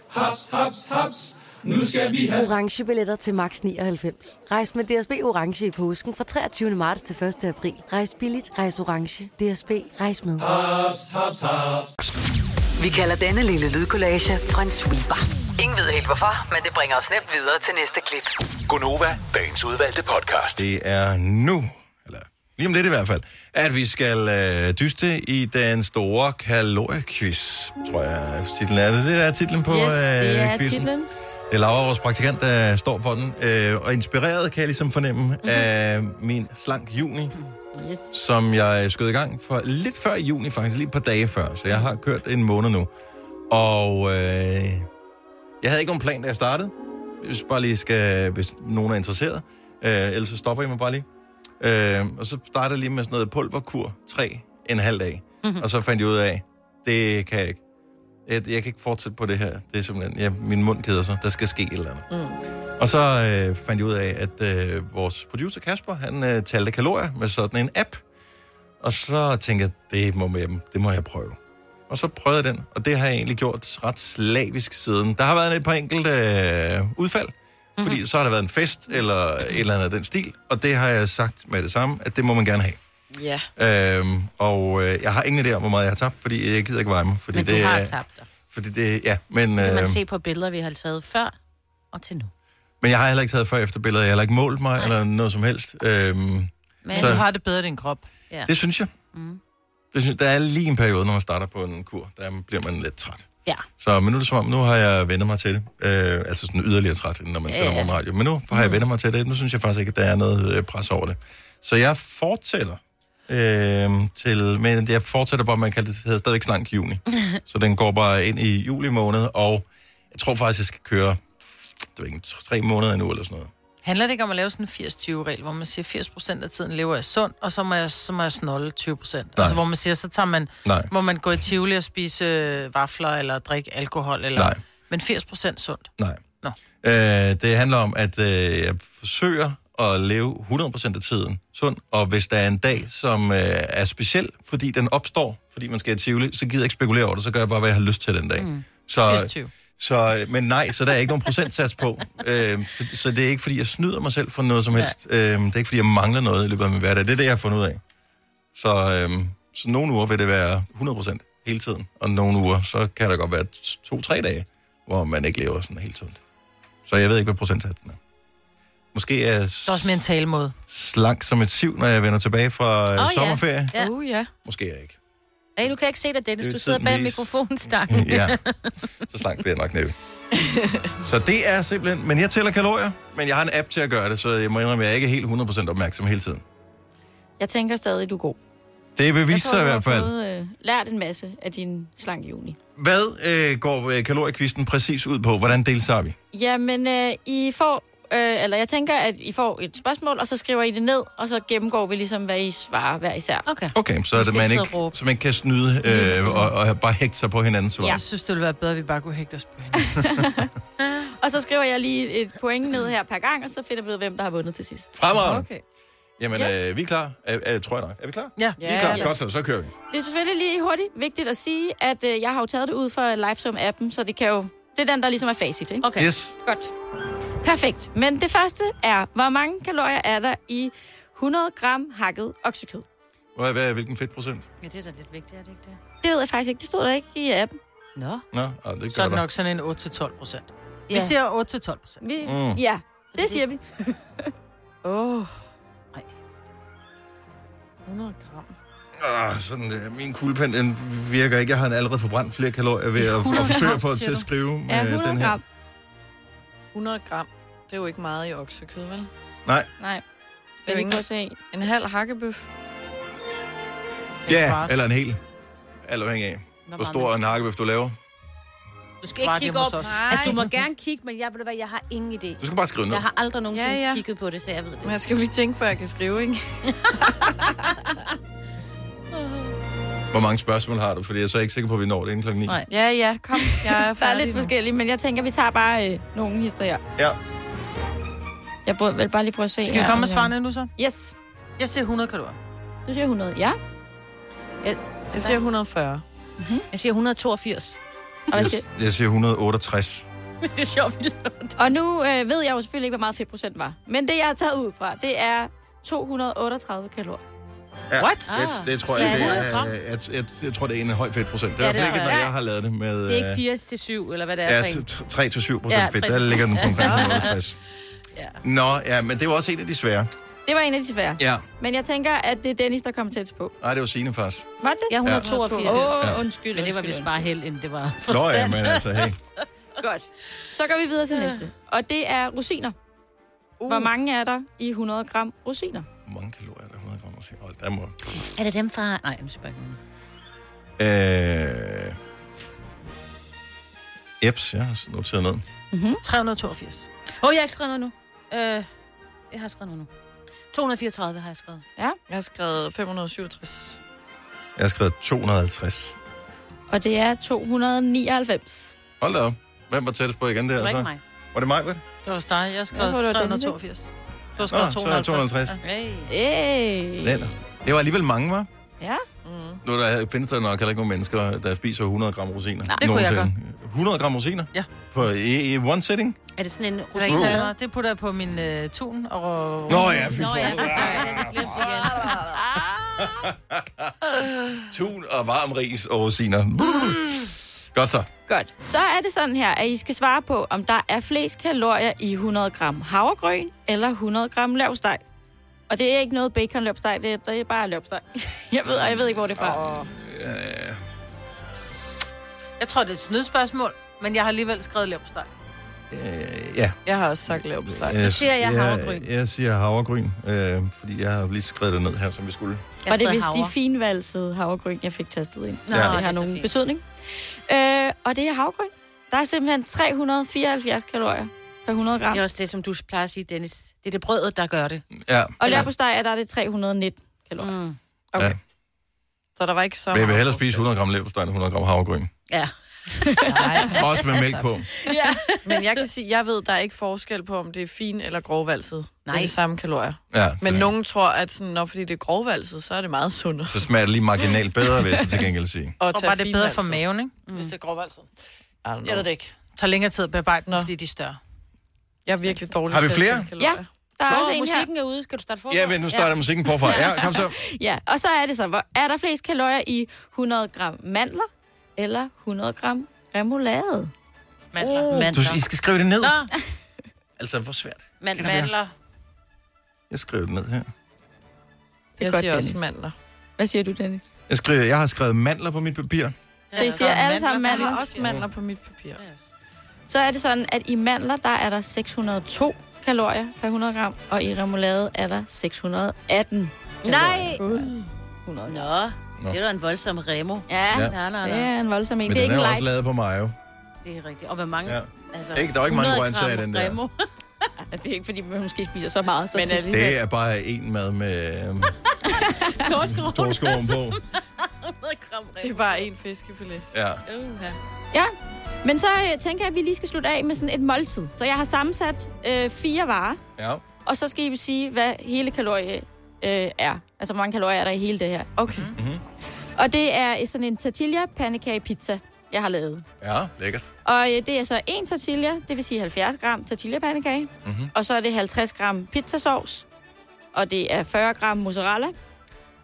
[SPEAKER 12] Haps, haps, haps. Nu skal vi have
[SPEAKER 11] Orange billetter til max 99. Rejs med DSB Orange i påsken fra 23. marts til 1. april. Rejs billigt, rejs orange. DSB, rejs med.
[SPEAKER 12] haps, haps, haps.
[SPEAKER 7] Vi kalder denne lille lydkollage en sweeper. Ingen ved helt hvorfor, men det bringer os nemt videre til næste klip.
[SPEAKER 10] Gonova, dagens udvalgte podcast.
[SPEAKER 1] det er nu, eller lige om lidt i hvert fald, at vi skal øh, dyste i den store kaloriequiz, tror jeg titlen er. Det, det er titlen på
[SPEAKER 8] Yes,
[SPEAKER 1] øh,
[SPEAKER 8] det er
[SPEAKER 1] quizzen.
[SPEAKER 8] titlen.
[SPEAKER 1] Det er Laura, vores praktikant, der står for den. Øh, og inspireret, kan jeg ligesom fornemme, mm-hmm. af min slank juni,
[SPEAKER 8] Yes.
[SPEAKER 1] som jeg skød i gang for lidt før i juni, faktisk lige et par dage før. Så jeg har kørt en måned nu. Og øh, jeg havde ikke nogen plan, da jeg startede. Hvis, bare lige skal, hvis nogen er interesseret. Øh, ellers så stopper I mig bare lige. Øh, og så startede jeg lige med sådan noget pulverkur. Tre en halv dag. Mm-hmm. Og så fandt jeg ud af, det kan jeg ikke. Jeg, jeg kan ikke fortsætte på det her. Det er simpelthen, ja, min mund keder sig. Der skal ske et eller andet. Og så øh, fandt jeg ud af, at øh, vores producer Kasper, han øh, talte kalorier med sådan en app. Og så tænkte jeg, det må, jeg, det må jeg prøve. Og så prøvede jeg den, og det har jeg egentlig gjort ret slavisk siden. Der har været et par enkelte øh, udfald,
[SPEAKER 3] Mhm.
[SPEAKER 1] mm-hmm. fordi så har der været en fest eller et eller andet af den stil. Og det har jeg sagt med det samme, at det må man gerne have.
[SPEAKER 5] Ja.
[SPEAKER 1] Øhm, og øh, jeg har ingen idé om, hvor meget jeg har tabt, fordi jeg gider ikke veje mig. Fordi
[SPEAKER 3] Men du
[SPEAKER 1] det
[SPEAKER 3] har
[SPEAKER 1] er-
[SPEAKER 3] tabt dig.
[SPEAKER 1] Fordi det, ja, men...
[SPEAKER 3] Det kan
[SPEAKER 1] øh,
[SPEAKER 3] man se på billeder, vi har taget før og til nu.
[SPEAKER 1] Men jeg har heller ikke taget før efter billeder. Jeg har heller ikke målt mig Nej. eller noget som helst. Øhm,
[SPEAKER 2] Men så... du har det bedre i din krop.
[SPEAKER 1] Ja. Det synes jeg. Mm. Det synes, der er lige en periode, når man starter på en kur. Der bliver man lidt træt.
[SPEAKER 3] Ja.
[SPEAKER 1] Så, men nu er det som om, nu har jeg vendt mig til det. Øh, altså sådan yderligere træt, end når man
[SPEAKER 3] Ja,
[SPEAKER 1] ja, ja.
[SPEAKER 3] ja.
[SPEAKER 1] morgenradio. Men nu har jeg vendt mig til det. Nu synes jeg faktisk ikke, at der er noget øh, pres over det. Så jeg fortsætter øh, til... Men jeg fortsætter bare, man kan det hedder stadigvæk slank juni. Så den går bare ind i juli måned, og jeg tror faktisk, jeg skal køre det ved ikke, tre måneder endnu eller sådan noget.
[SPEAKER 2] Handler det ikke om at lave sådan en 80-20-regel, hvor man siger, 80% af tiden lever jeg sund, og så må jeg, så må jeg snolle 20%? Nej. Altså, hvor man siger, så tager man,
[SPEAKER 1] Nej.
[SPEAKER 2] må man gå i Tivoli og spise øh, vafler, eller drikke alkohol, eller...
[SPEAKER 1] Nej.
[SPEAKER 2] Men 80% sundt.
[SPEAKER 1] Nej.
[SPEAKER 2] Nå.
[SPEAKER 1] Øh, det handler om, at øh, jeg forsøger at leve 100% af tiden sund, og hvis der er en dag, som øh, er speciel, fordi den opstår, fordi man skal i Tivoli, så gider jeg ikke spekulere over det, så gør jeg bare, hvad jeg har lyst til den dag. Mm. Så,
[SPEAKER 2] 80-20.
[SPEAKER 1] så, øh, men nej, så der er ikke nogen procentsats
[SPEAKER 2] *laughs*
[SPEAKER 1] på. Øh, for, så det er ikke, fordi jeg snyder mig selv for noget som helst. Øh, det er ikke, fordi jeg mangler noget i løbet af min hverdag. Det er det, jeg har fundet ud af. Så, øh, så nogle uger vil det være 100% hele tiden, og nogle uger, så kan der godt være to-tre dage, hvor man ikke lever sådan helt sundt. Så jeg ved ikke, hvad procentsatsen er. Måske er jeg
[SPEAKER 2] Det er også mental måde.
[SPEAKER 1] slank som et siv, når jeg vender tilbage fra øh, oh, sommerferie.
[SPEAKER 3] Ja. Uh, ja.
[SPEAKER 1] Måske er jeg ikke.
[SPEAKER 3] Hey, du kan ikke se dig, Dennis.
[SPEAKER 1] Det er
[SPEAKER 3] Du sidder
[SPEAKER 1] tiden
[SPEAKER 3] bag
[SPEAKER 1] vis. *laughs*
[SPEAKER 3] mikrofonstangen.
[SPEAKER 1] Mm, Ja. Så slank bliver jeg nok næppe. Så det er simpelthen... Men jeg tæller kalorier, men jeg har en app til at gøre det, så jeg må indrømme, at jeg ikke er helt 100% opmærksom hele tiden.
[SPEAKER 8] Jeg tænker stadig, du er god.
[SPEAKER 1] Det vil
[SPEAKER 8] Jeg
[SPEAKER 1] vise
[SPEAKER 8] tror,
[SPEAKER 1] sig i
[SPEAKER 8] du har
[SPEAKER 1] hvert fald.
[SPEAKER 8] Fået, øh, lært en masse af din slank juni.
[SPEAKER 1] Hvad øh, går øh, kaloriekvisten præcis ud på? Hvordan deltager vi?
[SPEAKER 8] Jamen, øh, I får, øh, eller jeg tænker, at I får et spørgsmål, og så skriver I det ned, og så gennemgår vi ligesom, hvad I svarer hver især.
[SPEAKER 3] Okay.
[SPEAKER 1] Okay, så, at man, ikke, så man ikke kan snyde øh, og, og bare hægte sig på hinanden. Så.
[SPEAKER 2] Ja. Jeg synes, det ville være bedre, at vi bare kunne hægte os på hende.
[SPEAKER 8] Og så skriver jeg lige et point ned her per gang, og så finder vi ud af, hvem der har vundet til sidst.
[SPEAKER 1] Fremragende. Okay. Jamen, yes. øh, vi er klar. Er, er, tror jeg nok. Er vi klar?
[SPEAKER 8] Ja.
[SPEAKER 1] Vi er klar.
[SPEAKER 8] Yes.
[SPEAKER 1] Godt, så, så kører vi.
[SPEAKER 8] Det er selvfølgelig lige hurtigt vigtigt at sige, at øh, jeg har jo taget det ud fra Livesum-appen, så det kan jo... Det er den, der ligesom er facit, ikke?
[SPEAKER 1] Okay. Yes.
[SPEAKER 8] Godt. Perfekt. Men det første er, hvor mange kalorier er der i 100 gram hakket oksekød?
[SPEAKER 1] Hvad, hvad, er- hvilken fedtprocent?
[SPEAKER 3] Ja, det er da lidt vigtigt, er det ikke det?
[SPEAKER 8] Det ved jeg faktisk ikke. Det stod der ikke i appen.
[SPEAKER 3] Nå.
[SPEAKER 1] Nå, ah, det gør
[SPEAKER 2] Så er det
[SPEAKER 1] der.
[SPEAKER 2] nok sådan en 8-12 procent. Ja.
[SPEAKER 8] Ja.
[SPEAKER 2] Vi siger 8-12 procent.
[SPEAKER 8] Vi,
[SPEAKER 1] Mm.
[SPEAKER 8] Ja, det siger vi. Åh. oh.
[SPEAKER 5] 100 gram.
[SPEAKER 1] Ah, sådan, øh, min kuglepen den virker ikke. Jeg har allerede forbrændt flere kalorier ved at, at forsøge at få til at skrive med
[SPEAKER 5] Ja, 100
[SPEAKER 1] den her.
[SPEAKER 5] gram. 100 gram. Det er jo ikke meget i oksekød, vel?
[SPEAKER 1] Nej.
[SPEAKER 8] Nej.
[SPEAKER 5] Det er jo ikke
[SPEAKER 8] se.
[SPEAKER 5] En halv hakkebøf.
[SPEAKER 1] Ja,
[SPEAKER 5] kvart.
[SPEAKER 1] eller en hel. Alt afhængig af,
[SPEAKER 3] Hvor
[SPEAKER 1] hvor
[SPEAKER 3] meget
[SPEAKER 1] stor en hakkebøf du laver.
[SPEAKER 3] Du skal ikke
[SPEAKER 2] Bare
[SPEAKER 3] kigge
[SPEAKER 2] hjemme hos
[SPEAKER 3] op.
[SPEAKER 2] os.
[SPEAKER 3] Altså, du må gerne kigge, men jeg, ved du hvad, jeg har ingen idé.
[SPEAKER 1] Du skal bare skrive ned.
[SPEAKER 3] Jeg har aldrig nogensinde
[SPEAKER 5] Ja,
[SPEAKER 3] ja,
[SPEAKER 5] ja.
[SPEAKER 3] ja. kigget på det, så jeg ved det.
[SPEAKER 5] Men jeg skal jo lige tænke, før jeg kan skrive, ikke?
[SPEAKER 1] Hvor mange spørgsmål har du? Fordi jeg er så ikke sikker på, at vi når det inden klokken 9.
[SPEAKER 5] Nej. Ja, ja, kom. Jeg er
[SPEAKER 8] der er lidt forskellige, men jeg tænker, vi tager bare øh, nogle historier.
[SPEAKER 1] Ja.
[SPEAKER 8] Jeg bør, vil bare lige prøve at se.
[SPEAKER 2] Skal vi komme
[SPEAKER 8] her,
[SPEAKER 2] med
[SPEAKER 8] om jeg-
[SPEAKER 2] svarene nu så?
[SPEAKER 8] Yes.
[SPEAKER 2] Jeg siger 100 kalorier.
[SPEAKER 8] Du siger 100, ja.
[SPEAKER 3] Jeg,
[SPEAKER 5] jeg siger 140.
[SPEAKER 3] Mm-hmm. Jeg siger 182.
[SPEAKER 8] Og hvad siger,
[SPEAKER 1] Jeg siger 168.
[SPEAKER 3] det er sjovt, vi
[SPEAKER 8] Og nu øh, ved jeg jo selvfølgelig ikke, hvor meget fedtprocent var. Men det, jeg har taget ud fra, det er 238 kalorier.
[SPEAKER 1] Ja,
[SPEAKER 8] What?
[SPEAKER 1] Det, det tror
[SPEAKER 8] Ah.
[SPEAKER 1] jeg,
[SPEAKER 8] Ja,
[SPEAKER 1] det er, øh,
[SPEAKER 8] 100 gram.
[SPEAKER 1] jeg, jeg, jeg, jeg tror, det er en høj fedtprocent. Det er
[SPEAKER 3] Ja,
[SPEAKER 1] i hvert
[SPEAKER 3] det
[SPEAKER 1] fald ikke,
[SPEAKER 3] tror
[SPEAKER 1] når
[SPEAKER 3] jeg.
[SPEAKER 1] jeg har lavet det med...
[SPEAKER 3] Det er
[SPEAKER 1] øh,
[SPEAKER 3] ikke 80-7, til syv, eller hvad det er.
[SPEAKER 1] Ja,
[SPEAKER 3] for en.
[SPEAKER 1] 3-7
[SPEAKER 3] Ja,
[SPEAKER 1] procent fedt.
[SPEAKER 3] 3
[SPEAKER 1] Der
[SPEAKER 3] til syv.
[SPEAKER 1] ligger den på omkring
[SPEAKER 3] *laughs* Ja.
[SPEAKER 1] 160.
[SPEAKER 3] Ja.
[SPEAKER 1] Nå, ja, men det var også en af de svære.
[SPEAKER 8] Det var en af de svære.
[SPEAKER 1] Ja.
[SPEAKER 8] Men jeg tænker, at det er Dennis, der kom tæt på.
[SPEAKER 1] Nej, det var Signe faktisk.
[SPEAKER 8] Var det?
[SPEAKER 1] Ja, 182.
[SPEAKER 8] Åh,
[SPEAKER 1] Ja.
[SPEAKER 8] oh, undskyld.
[SPEAKER 3] Men det var vist bare held, end det var
[SPEAKER 1] Nå ja,
[SPEAKER 3] forstand.
[SPEAKER 1] men altså, hey.
[SPEAKER 8] Godt. Så går vi videre til næste. Og det er rosiner. Uh. Hvor mange er der i 100 gram rosiner?
[SPEAKER 1] Hvor mange kalorier er der? 100 gram rosiner? Hold da, mor.
[SPEAKER 3] Er det dem fra... Nej, nu spørger jeg
[SPEAKER 1] Øh... Eps, jeg har noteret ned.
[SPEAKER 8] Mm-hmm.
[SPEAKER 2] 382.
[SPEAKER 3] Åh, oh, jeg har ikke skrevet noget nu. Øh, jeg har skrevet noget nu. 234 har jeg skrevet.
[SPEAKER 8] Ja.
[SPEAKER 5] Jeg har skrevet 567.
[SPEAKER 1] Jeg har skrevet 250.
[SPEAKER 8] Og det er 299.
[SPEAKER 1] Hold da op. Hvem var tættest på igen der?
[SPEAKER 8] Det var ikke
[SPEAKER 1] så?
[SPEAKER 8] mig.
[SPEAKER 1] Var det mig, vel?
[SPEAKER 2] Det var også dig. Jeg skrev
[SPEAKER 8] Jeg tror, det var Dennis, ikke?
[SPEAKER 2] 382. Du har skrevet
[SPEAKER 1] Nå, så er det
[SPEAKER 2] 250.
[SPEAKER 1] 250.
[SPEAKER 2] Hey.
[SPEAKER 8] Hey.
[SPEAKER 1] Den. Det var alligevel mange, var?
[SPEAKER 8] Ja.
[SPEAKER 1] Nu er der, findes der nok heller ikke nogen mennesker, der spiser 100 gram rosiner.
[SPEAKER 2] Nej, det kunne jeg
[SPEAKER 1] Nogensinde. 100 gram rosiner?
[SPEAKER 2] Ja.
[SPEAKER 1] På, i, i one sitting?
[SPEAKER 3] Er det sådan en
[SPEAKER 2] Det, er ikke særlig meget. det putter jeg på min øh, tun og...
[SPEAKER 1] Nå ja, fy
[SPEAKER 2] Nå, ja.
[SPEAKER 1] for- Tun og varm ris og rosiner. Mm. Godt så.
[SPEAKER 8] Godt. Så er det sådan her, at I skal svare på, om der er flest kalorier i 100 gram havregryn eller 100 gram lavsteg. Og det er ikke noget bacon-løbsteg, det, er- det er bare løbsteg. *laughs* Jeg ved, og jeg ved ikke, hvor det er fra.
[SPEAKER 2] Jeg tror, det er et snydspørgsmål, men jeg har alligevel skrevet lavsteg.
[SPEAKER 1] Øh, Ja. øh,
[SPEAKER 5] Jeg har også sagt lavbesteg.
[SPEAKER 1] Jeg, jeg siger havregryn, øh, fordi jeg har lige skrevet det ned her, som vi skulle.
[SPEAKER 8] Og det er vist de finvalsede havregryn, jeg fik tastet ind. Nå,
[SPEAKER 1] Nå, Ja.
[SPEAKER 8] ja.
[SPEAKER 1] det
[SPEAKER 8] Det
[SPEAKER 1] er
[SPEAKER 8] har
[SPEAKER 1] så
[SPEAKER 8] nogen betydning. Øh, og det er havregryn. Der er simpelthen 374 kalorier per 100 gram.
[SPEAKER 3] Det er også det, som du plejer at sige, Dennis. Det er det brødet, der gør det.
[SPEAKER 1] Ja.
[SPEAKER 8] Og lærpostej er der er det 319 kalorier.
[SPEAKER 3] Mm.
[SPEAKER 1] Okay. Ja.
[SPEAKER 5] Så der var ikke så
[SPEAKER 1] Men jeg vil
[SPEAKER 5] meget.
[SPEAKER 1] hellere spise 100 gram leverpostej end 100 gram havregryn.
[SPEAKER 3] Ja. *laughs*
[SPEAKER 5] Nej.
[SPEAKER 1] Også med mælk på.
[SPEAKER 5] ja. Men jeg kan sige, jeg ved, der er ikke forskel på, om det er fin eller grovvalset. Nej. Det er de samme kalorier.
[SPEAKER 1] Ja,
[SPEAKER 5] Men nogen tror, at sådan, når fordi det er grovvalset, så er det meget sundere.
[SPEAKER 1] Så smager det lige marginalt bedre, vil jeg så til gengæld sige.
[SPEAKER 5] Og,
[SPEAKER 2] Og
[SPEAKER 5] tage
[SPEAKER 2] bare det er bedre
[SPEAKER 1] altså.
[SPEAKER 2] for
[SPEAKER 5] finvalset.
[SPEAKER 2] maven, ikke? Mm. Hvis det er grovvalset.
[SPEAKER 5] Jeg
[SPEAKER 2] ved det ikke. Det tager længere tid at bearbejde dem, fordi de er større.
[SPEAKER 5] Jeg er virkelig dårlig
[SPEAKER 1] Har vi til at flere? tælle
[SPEAKER 2] Ja,
[SPEAKER 8] der er altså-
[SPEAKER 3] Nå,
[SPEAKER 8] også en her.
[SPEAKER 3] musikken er ude. Skal du starte forfra?
[SPEAKER 1] Ja, vent, nu starter musikken forfra. Ja, kom så.
[SPEAKER 8] Ja, og så er det så, hvor er der flest kalorier i 100 gram mandler eller 100 gram remoulade?
[SPEAKER 2] Mandler.
[SPEAKER 1] Uh, Du, I skal skrive det ned. Altså, hvor svært.
[SPEAKER 3] Mandler.
[SPEAKER 2] Mandler.
[SPEAKER 1] Jeg skriver det ned her.
[SPEAKER 8] Det er
[SPEAKER 5] Jeg
[SPEAKER 8] godt,
[SPEAKER 5] siger også
[SPEAKER 8] Dennis.
[SPEAKER 5] mandler.
[SPEAKER 8] Hvad siger du, Dennis?
[SPEAKER 1] Jeg, skriver, jeg har skrevet mandler på mit papir.
[SPEAKER 8] Så I siger alle sammen mandler?
[SPEAKER 5] Jeg har også mandler på mit papir.
[SPEAKER 8] Så er det sådan, at i mandler, der er der 602 kalorier per 100 gram, og i remoulade er der 618
[SPEAKER 3] Nej!
[SPEAKER 8] kalorier.
[SPEAKER 3] Nå, det er da en voldsom remo.
[SPEAKER 8] Ja,
[SPEAKER 1] Ja.
[SPEAKER 3] Nej, nej,
[SPEAKER 8] det er
[SPEAKER 3] nej.
[SPEAKER 8] en voldsom en.
[SPEAKER 1] Men
[SPEAKER 8] Det er
[SPEAKER 1] den
[SPEAKER 8] ikke
[SPEAKER 1] er
[SPEAKER 8] en
[SPEAKER 1] også
[SPEAKER 8] light.
[SPEAKER 1] lavet på mayo.
[SPEAKER 3] Det er rigtigt. Og hvor mange...
[SPEAKER 1] Ja.
[SPEAKER 3] Altså,
[SPEAKER 1] Ikke- der er ikke mange
[SPEAKER 3] 100
[SPEAKER 1] grøntsager i
[SPEAKER 3] gram
[SPEAKER 1] den der.
[SPEAKER 3] Remo. *laughs*
[SPEAKER 8] det er ikke, fordi man måske spiser så meget. Så
[SPEAKER 3] Men
[SPEAKER 8] tit.
[SPEAKER 1] Det er bare en mad med øhm,
[SPEAKER 2] *laughs*
[SPEAKER 3] Torskron.
[SPEAKER 1] torskoven på.
[SPEAKER 5] Det er bare en fiskefilet.
[SPEAKER 1] Ja.
[SPEAKER 3] Uh-huh.
[SPEAKER 8] Ja, men så øh, tænker jeg, at vi lige skal slutte af med sådan et måltid. Så jeg har sammensat øh, fire varer,
[SPEAKER 1] Ja.
[SPEAKER 8] og så skal I sige, hvad hele kalorie øh, er. Altså, hvor mange kalorier er der i hele det her.
[SPEAKER 5] Okay.
[SPEAKER 1] Mhm.
[SPEAKER 8] Og det er sådan en tortilla pandekage pizza, jeg har lavet.
[SPEAKER 1] Ja, lækkert.
[SPEAKER 8] Og øh, det er så en tortilla, det vil sige 70 gram tortillapandekage.
[SPEAKER 1] Mhm.
[SPEAKER 8] Og så er det 50 gram pizzasauce. Og det er 40 gram mozzarella.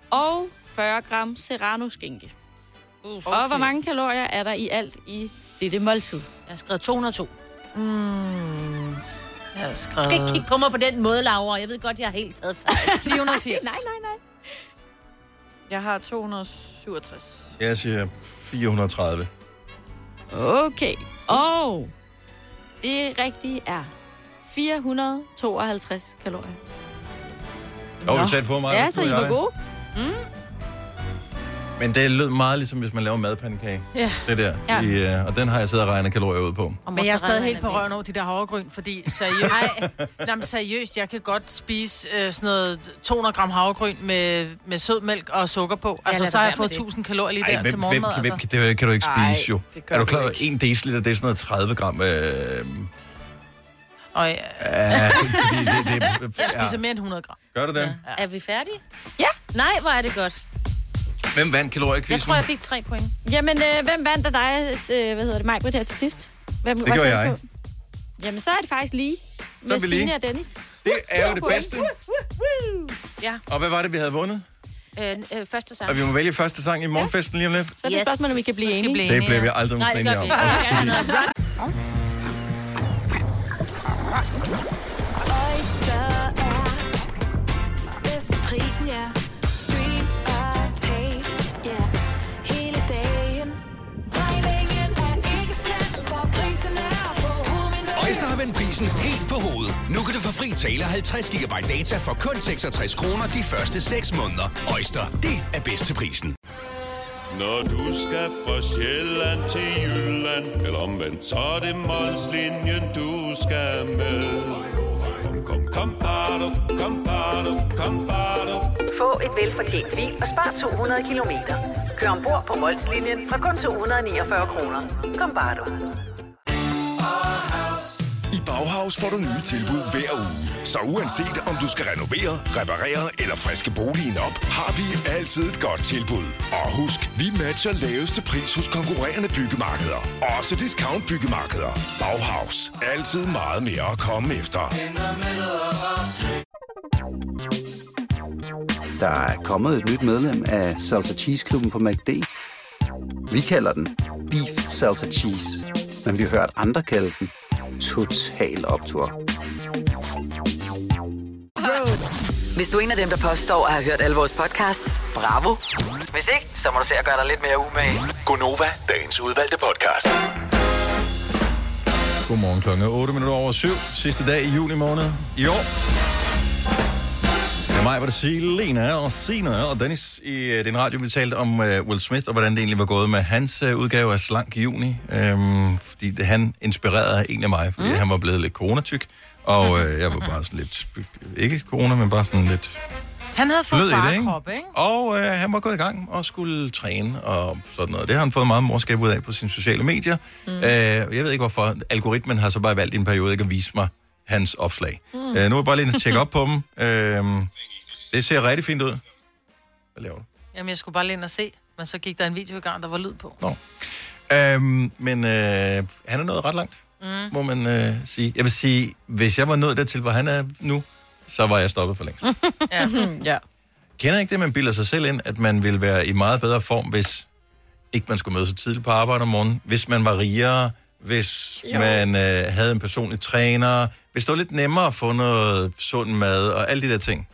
[SPEAKER 8] Og 40 gram serrano-skinke. Okay. Og hvor mange kalorier er der i alt i dette måltid?
[SPEAKER 3] Jeg har skrevet 202.
[SPEAKER 8] Mm.
[SPEAKER 2] Jeg har
[SPEAKER 3] Du
[SPEAKER 2] skrevet...
[SPEAKER 3] skal ikke kigge på mig på den måde, Laura. Jeg ved godt, jeg har helt taget fejl.
[SPEAKER 2] 480.
[SPEAKER 3] nej,
[SPEAKER 8] nej, nej.
[SPEAKER 5] Jeg har 267.
[SPEAKER 1] Jeg siger 430.
[SPEAKER 8] Okay. Og det rigtige er 452 kalorier.
[SPEAKER 1] Jo, du tæt på mig.
[SPEAKER 8] Ja, så I var gode.
[SPEAKER 1] Men det lød meget ligesom, hvis man laver madpandekage.
[SPEAKER 2] Ja.
[SPEAKER 1] Det der.
[SPEAKER 2] Ja.
[SPEAKER 1] Ja. I, øh, og den har jeg siddet og regnet kalorier ud på.
[SPEAKER 2] Men jeg er stadig helt på røven over de der havregryn, fordi seriøst, *laughs* nej, men seriøst jeg kan godt spise øh, sådan noget 200 gram havregryn med, med sød mælk og sukker på. Altså,
[SPEAKER 1] lad
[SPEAKER 2] så
[SPEAKER 1] være
[SPEAKER 2] har jeg
[SPEAKER 1] med
[SPEAKER 2] fået
[SPEAKER 1] det.
[SPEAKER 2] 1000 kalorier lige
[SPEAKER 1] Ej,
[SPEAKER 2] der
[SPEAKER 1] hvem,
[SPEAKER 2] til
[SPEAKER 1] hvem,
[SPEAKER 2] morgenmad.
[SPEAKER 1] hvem,
[SPEAKER 2] altså.
[SPEAKER 1] kan, det kan du ikke
[SPEAKER 2] Ej,
[SPEAKER 1] spise, jo.
[SPEAKER 2] det gør
[SPEAKER 1] Er du
[SPEAKER 2] du
[SPEAKER 1] klar over, 1 deciliter, det er sådan noget 30 gram.
[SPEAKER 2] *laughs*
[SPEAKER 1] Øh,
[SPEAKER 2] Og jeg,
[SPEAKER 1] ja, fordi det, det,
[SPEAKER 2] jeg spiser
[SPEAKER 1] ja.
[SPEAKER 2] mere end 100 gram.
[SPEAKER 1] Gør du det?
[SPEAKER 3] Er vi færdige?
[SPEAKER 8] Ja.
[SPEAKER 3] Nej, hvor er det godt.
[SPEAKER 1] Hvem vandt
[SPEAKER 3] Jeg
[SPEAKER 1] kaloriequizzen?
[SPEAKER 3] tror, jeg fik tre point.
[SPEAKER 8] Jamen, øh, hvem vandt af dig, øh, hvad hedder det, mig, her til sidst? Hvem
[SPEAKER 1] Det
[SPEAKER 8] var
[SPEAKER 1] gjorde
[SPEAKER 8] tættest
[SPEAKER 1] jeg.
[SPEAKER 8] på? Jamen, så er det faktisk lige
[SPEAKER 1] er
[SPEAKER 8] med
[SPEAKER 1] vi lige.
[SPEAKER 8] Signe og Dennis.
[SPEAKER 1] Det er jo det bedste.
[SPEAKER 3] Ja.
[SPEAKER 1] Og hvad var det, vi havde vundet?
[SPEAKER 3] Øh, øh, første sang.
[SPEAKER 1] Og vi må vælge første sang i morgenfesten lige om lidt.
[SPEAKER 8] Så er det yes. spørgsmål, om vi kan blive enige.
[SPEAKER 1] blive Det enige, bliver vi ja. aldrig nogensinde
[SPEAKER 3] Nej, det gør
[SPEAKER 1] enige om.
[SPEAKER 3] vi ikke. Vi vil gerne have noget rock.
[SPEAKER 13] Oyster er bedst til prisen, ja. Stream og tag, ja. Hele dagen. Regningen er ikke slem, for prisen er på hovedet.
[SPEAKER 14] Øjster har vendt prisen helt på hovedet. Nu kan du få fri tale 50 GB data for kun 66 kroner de første 6 måneder. Øjster, det er bedst til prisen.
[SPEAKER 15] Når du skal fra Sjælland til Jylland, eller omvendt, så er det Molslinjen, du skal med. Kom, kom, kom, bado, kom, bado, kom, bado.
[SPEAKER 16] Få et velfortjent bil og spar 200 kilometer. Kør ombord på Molslinjen fra kun 249 kroner. Kom bare du.
[SPEAKER 10] I Bauhaus får du nye tilbud hver uge. Så uanset om du skal renovere, reparere eller friske boligen op, har vi altid et godt tilbud. Og husk, vi matcher laveste pris hos konkurrerende byggemarkeder. Også discount byggemarkeder. Bauhaus. Altid meget mere at komme efter.
[SPEAKER 17] Der er kommet et nyt medlem af Salsa Cheese Klubben på MACD. Vi kalder den Beef Salsa Cheese. Men vi har hørt andre kalde den Total Optor.
[SPEAKER 7] Hvis du er en af dem, der påstår at have hørt alle vores podcasts, bravo. Hvis ikke, så må du se at gøre dig lidt mere umage.
[SPEAKER 14] Gonova, dagens udvalgte podcast.
[SPEAKER 1] *laughs* Godmorgen klokken 8 minutter over 7. Sidste dag i juni måned i år. Med mig var det Selena og Sina og Dennis i øh, din radio. Vi talte om øh, Will Smith og hvordan det egentlig var gået med hans øh, udgave af Slank i juni. Øhm, fordi det- han inspirerede en af mig, fordi mm. han var blevet lidt coronatyk. Og
[SPEAKER 3] *laughs*
[SPEAKER 1] øh, jeg var bare sådan lidt, ikke corona, men bare sådan lidt
[SPEAKER 2] Han havde fået
[SPEAKER 1] Lød i det, ikke?
[SPEAKER 2] farkrop, ikke?
[SPEAKER 1] Og øh, han var gået i gang og skulle træne og sådan noget. Det har han fået meget morskab ud af på sine sociale medier. Mm. Øh, jeg ved ikke hvorfor. Algoritmen har så bare valgt i en periode ikke at vise mig hans opslag. Mm.
[SPEAKER 18] Mm.
[SPEAKER 1] Øh, nu er jeg bare lige at tjekke op på dem. Øh, det ser rigtig fint ud. Hvad laver du?
[SPEAKER 2] Jamen, jeg skulle bare lige ind og se, men så gik der en video i gang, der var lyd på.
[SPEAKER 1] Øh, men øh, han er nået ret langt,
[SPEAKER 2] Mm.
[SPEAKER 1] må man øh, sige. Jeg vil sige, hvis jeg var nået dertil, hvor han er nu, så var jeg stoppet for længe.
[SPEAKER 2] ja.
[SPEAKER 5] Mm, ja.
[SPEAKER 1] Kender ikke det, man bilder sig selv ind, at man ville være i meget bedre form, hvis ikke man skulle møde så tidligt på arbejde om morgenen, hvis man var rigere, hvis jo.
[SPEAKER 5] Jo.
[SPEAKER 1] man øh, havde en personlig træner, hvis det var lidt nemmere at få noget sund mad og alle de der ting.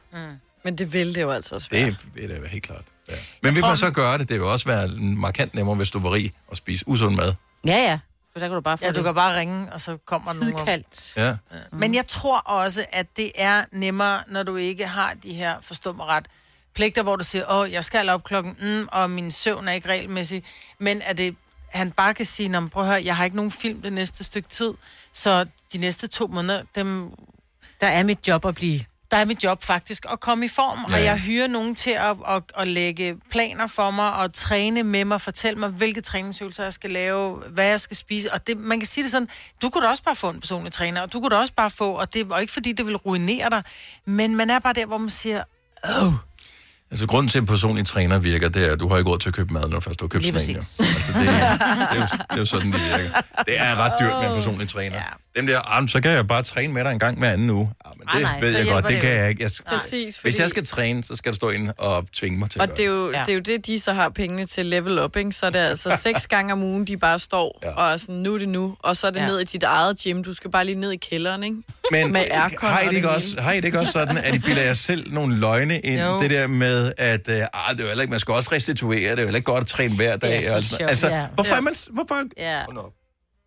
[SPEAKER 5] Men det vil det jo altså også
[SPEAKER 1] Det vil da være helt klart. Ja. Men vil man så gøre det, det vil også være markant nemmere, hvis du var rig og spise usund mad.
[SPEAKER 3] Ja, ja. For der kan du bare få
[SPEAKER 2] Ja, du
[SPEAKER 3] det.
[SPEAKER 2] kan bare ringe, og så
[SPEAKER 1] *laughs*
[SPEAKER 2] kommer der nogen. Kaldt.
[SPEAKER 1] Ja.
[SPEAKER 2] Mm. Men jeg tror også, at det er nemmere, når du ikke har de her, forstå mig ret, pligter, hvor du siger, åh, jeg skal op klokken, mm, og min søvn er ikke regelmæssig. Men at det, han bare kan sige, "Nå, men prøv at høre, jeg har ikke nogen film det næste stykke tid, så de næste to måneder, dem...
[SPEAKER 3] Der er mit job at blive.
[SPEAKER 2] Der er mit job faktisk at komme i form,
[SPEAKER 3] Ja,
[SPEAKER 2] ja. og
[SPEAKER 3] ja.
[SPEAKER 2] jeg hyrer nogen til at, at, at lægge planer for mig, og træne med mig, fortælle mig, hvilke træningsøvelser jeg skal lave, hvad jeg skal spise. Og det, man kan sige det sådan, du kunne da også bare få en personlig træner, og du kunne da også bare få, og det var ikke fordi, det vil ruinere dig, men man er bare der, hvor man siger, åh,
[SPEAKER 1] Altså, grunden til, at en personlig træner virker, det er, at du har ikke råd til at købe mad, når først du har købt
[SPEAKER 2] Lige
[SPEAKER 1] sådan en. jo.
[SPEAKER 2] præcis.
[SPEAKER 1] Altså, det,
[SPEAKER 5] *laughs*
[SPEAKER 1] er, det, er jo, det er jo sådan, det virker. Det er ret dyrt med en personlig træner. Ja. Dem der, ah, men så kan jeg bare træne med dig en gang hver anden uge. Ah, men
[SPEAKER 5] Ej,
[SPEAKER 1] det
[SPEAKER 5] nej,
[SPEAKER 1] ved
[SPEAKER 5] så
[SPEAKER 1] jeg godt,
[SPEAKER 5] hjælper
[SPEAKER 1] det,
[SPEAKER 5] det
[SPEAKER 1] kan
[SPEAKER 5] jo
[SPEAKER 1] jeg
[SPEAKER 5] ikke.
[SPEAKER 1] ikke. Jeg skal,
[SPEAKER 5] Præcis,
[SPEAKER 1] Hvis
[SPEAKER 5] fordi-
[SPEAKER 1] jeg skal træne, så skal du stå ind og tvinge mig til at
[SPEAKER 5] Og
[SPEAKER 1] gøre
[SPEAKER 5] det er, jo, ja. det er jo det, de så har pengene til level up, ikke? Så er det altså seks gange om ugen, de bare står ja. og er sådan, nu er det nu. Og så er det
[SPEAKER 1] Ja.
[SPEAKER 5] ja. ned i dit eget gym. Du skal bare lige ned i kælderen, ikke?
[SPEAKER 1] Men
[SPEAKER 5] Med
[SPEAKER 1] øh,
[SPEAKER 5] aircon
[SPEAKER 1] har I
[SPEAKER 5] og
[SPEAKER 1] det ikke
[SPEAKER 5] hele.
[SPEAKER 1] også, har I det ikke også sådan, at I bilder jer selv nogle løgne ind?
[SPEAKER 5] Jo.
[SPEAKER 1] Det der med, at øh, ah, det er jo heller ikke, man skal også restituere, det er jo heller ikke godt at træne hver dag.
[SPEAKER 2] så
[SPEAKER 1] og sådan-
[SPEAKER 2] sjovt,
[SPEAKER 1] altså,
[SPEAKER 2] ja.
[SPEAKER 1] hvorfor er man... s- Hvorfor?
[SPEAKER 3] Ja.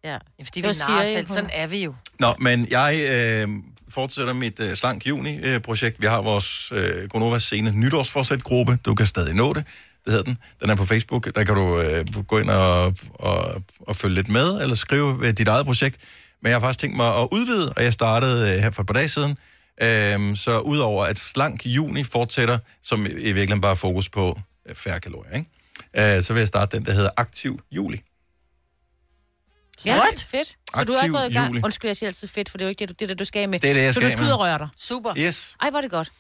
[SPEAKER 3] Ja.
[SPEAKER 2] fordi vi narrer os selv, sådan er vi jo.
[SPEAKER 1] Nå, men jeg øh, fortsætter mit øh, Slank Juni-projekt. Vi har vores øh, Gronovas scene nytårsforsæt-gruppe. Du kan stadig nå det. Det hedder den. Den er på Facebook. Der kan du øh, gå ind og, og, og følge lidt med, eller skrive øh, dit eget projekt. Men jeg har faktisk tænkt mig at udvide, og jeg startede øh, her for et par dage siden. Øh, så udover at Slank Juni fortsætter, som i i virkeligheden bare er fokus på øh, færre kalorier, ikke? Øh, så vil jeg starte den, der hedder Aktiv Juli.
[SPEAKER 3] Ja,
[SPEAKER 1] What?
[SPEAKER 3] What? fedt. Så du er
[SPEAKER 1] Aktiv
[SPEAKER 3] gået i gang.
[SPEAKER 1] juli.
[SPEAKER 3] Undskyld, jeg siger altid fedt, for det er jo ikke det, du, det, der, du skal af med.
[SPEAKER 1] Det er det, jeg
[SPEAKER 3] så
[SPEAKER 1] skal af
[SPEAKER 3] du skal ud
[SPEAKER 1] med.
[SPEAKER 3] og røre dig.
[SPEAKER 2] Super.
[SPEAKER 1] Yes.
[SPEAKER 3] Ej, hvor er det godt.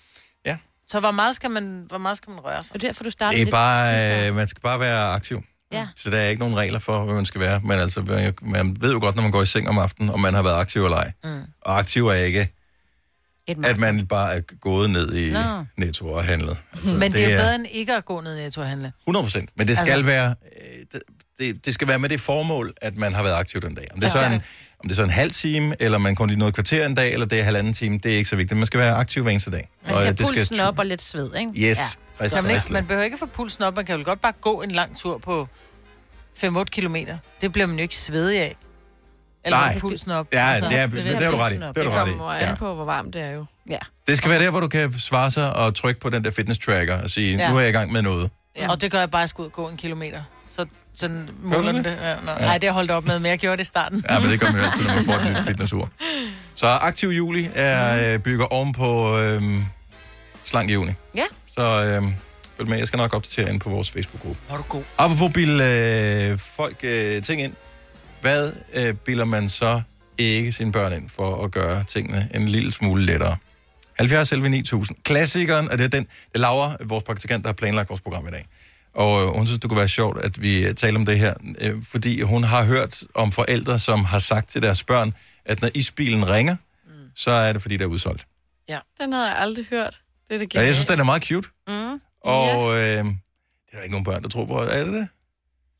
[SPEAKER 1] Ja.
[SPEAKER 2] Så hvor meget skal man, hvor meget skal man røre sig?
[SPEAKER 3] Det er derfor, du starter
[SPEAKER 1] Det er bare, øh, man skal bare være aktiv.
[SPEAKER 3] Ja.
[SPEAKER 1] Så der er ikke nogen regler for, hvad man skal være. Men altså, man- man ved jo godt, når man går i seng om aftenen, om man har været aktiv eller ej.
[SPEAKER 3] Mm.
[SPEAKER 1] Og aktiv er ikke,
[SPEAKER 3] Et
[SPEAKER 1] at man bare er gået ned i
[SPEAKER 2] Nå.
[SPEAKER 1] netto og handlet.
[SPEAKER 2] Altså, men det, er jo bedre end ikke at gå ned i netto og handle.
[SPEAKER 1] 100 procent. Men det skal
[SPEAKER 2] Altså-
[SPEAKER 1] altså... være... øh, det- Det, det skal være med det formål, at man har været aktiv den dag. Om det, er så en, om det er så en halv time, eller man kun lige noget kvarter en dag, eller det er halvanden time, det er ikke så vigtigt. Man skal være aktiv hver eneste dag.
[SPEAKER 3] Man skal
[SPEAKER 1] øh,
[SPEAKER 3] have pulsen
[SPEAKER 1] tu-
[SPEAKER 3] op og lidt sved, ikke?
[SPEAKER 1] Yes,
[SPEAKER 2] Ja.
[SPEAKER 1] præcis.
[SPEAKER 2] Så man, ikke, man behøver ikke få pulsen op, man kan jo godt bare gå en lang tur på 5-8 kilometer. Det bliver man jo ikke svedig af. Eller
[SPEAKER 1] Nej.
[SPEAKER 2] have pulsen op. Altså,
[SPEAKER 1] Ja, det er- det har du ret i. Det har du ret i.
[SPEAKER 5] Det kommer
[SPEAKER 1] Ja.
[SPEAKER 5] an på, hvor varmt det er jo.
[SPEAKER 3] Ja.
[SPEAKER 1] Det skal være der, hvor du kan svare sig og trykke på den der fitness tracker og sige,
[SPEAKER 2] Ja.
[SPEAKER 1] ja. nu er jeg i gang med noget.
[SPEAKER 2] Ja. Og det gør jeg bare, at jeg skal ud og gå en kilometer. Så sådan
[SPEAKER 1] Gør
[SPEAKER 2] måler
[SPEAKER 1] du
[SPEAKER 2] den
[SPEAKER 1] det?
[SPEAKER 2] det. Ja, nej,
[SPEAKER 1] Ja.
[SPEAKER 2] ja. det har jeg holdt op med, men jeg gjorde det i starten.
[SPEAKER 1] Ja, men det kommer jo altid, når man får et nyt fitnessur. Så aktiv juli er, øh, bygger oven på øh, slank juni.
[SPEAKER 3] Ja.
[SPEAKER 1] Så øh, følg med, jeg skal nok opdatere ind på vores Facebook-gruppe.
[SPEAKER 2] Var du god.
[SPEAKER 1] Apropos bil, øh, folk øh, ting ind. Hvad øh, bilder man så ikke sine børn ind for at gøre tingene en lille smule lettere? 70 11 9000. Klassikeren, og det er den, det er Laura, vores praktikant, der har planlagt vores program i dag. Og øh, hun synes, det kunne være sjovt, at vi øh, taler om det her, øh, fordi hun har hørt om forældre, som har sagt til deres børn, at når isbilen ringer, mm. så er det, fordi der er udsolgt.
[SPEAKER 5] Ja. Den havde jeg aldrig hørt. Det er det
[SPEAKER 1] Ja, jeg synes, den er meget cute.
[SPEAKER 5] Mm.
[SPEAKER 1] Og øh, det er der ikke nogen børn, der tror på. Er det det?
[SPEAKER 5] *laughs*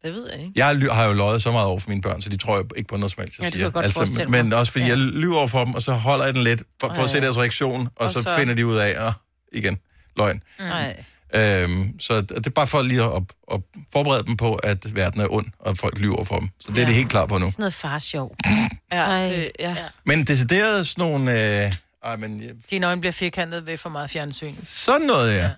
[SPEAKER 5] Det ved jeg ikke.
[SPEAKER 1] Jeg ly- har jo løjet så meget over for mine børn, så de tror jo ikke på noget som helst, jeg
[SPEAKER 5] Ja, det kan
[SPEAKER 1] siger. Altså,
[SPEAKER 5] jeg godt forestille mig.
[SPEAKER 1] men også fordi ja. jeg lyver over for dem, og så holder jeg den lidt, for, for at se
[SPEAKER 5] Ej.
[SPEAKER 1] deres reaktion, og,
[SPEAKER 5] Og
[SPEAKER 1] så,
[SPEAKER 5] så-
[SPEAKER 1] finder de ud af, at igen, løgn.
[SPEAKER 3] Mm.
[SPEAKER 5] Nej.
[SPEAKER 1] Øhm, så d- det er bare for lige at, op- at forberede dem på, at verden er ond, og folk lyver over for dem. Så det ja. er
[SPEAKER 3] Ja.
[SPEAKER 1] det helt klar på nu.
[SPEAKER 3] Sådan noget farsjov.
[SPEAKER 5] Ja,
[SPEAKER 2] Øh,
[SPEAKER 5] det, Øh, ja.
[SPEAKER 1] Men decideret sådan nogle... Øh, ej, men, ja,
[SPEAKER 2] Dine øjne bliver firkantet ved for meget fjernsyn.
[SPEAKER 1] sådan noget, ja.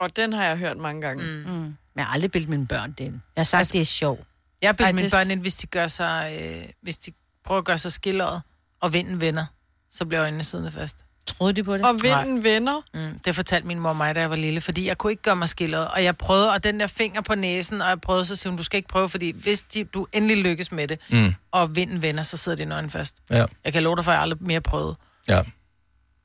[SPEAKER 5] Og den har jeg hørt mange gange. Mm. Mm.
[SPEAKER 3] Jeg har aldrig bildt mine børn det ind. Jeg har sagt, altså, det er sjovt.
[SPEAKER 2] Jeg bilder
[SPEAKER 3] Ej,
[SPEAKER 2] mine
[SPEAKER 3] det-
[SPEAKER 2] børn ind, hvis de, gør sig, øh, hvis de prøver at gøre sig skilleret, og vinden vender, så bliver øjnene siddende fast.
[SPEAKER 3] Troede de på det?
[SPEAKER 5] Og vinden vender?
[SPEAKER 2] Mm, det fortalte min mor mig, da jeg var lille, fordi jeg kunne ikke gøre mig skilleret. Og jeg prøvede, og den der finger på næsen, og jeg prøvede, så siger hun, du skal ikke prøve, fordi hvis de, du endelig lykkes med det,
[SPEAKER 1] Mm.
[SPEAKER 2] og vinden vender, så sidder dine øjne fast.
[SPEAKER 1] Ja.
[SPEAKER 2] Jeg kan love dig for, at jeg aldrig mere prøvede.
[SPEAKER 1] Ja.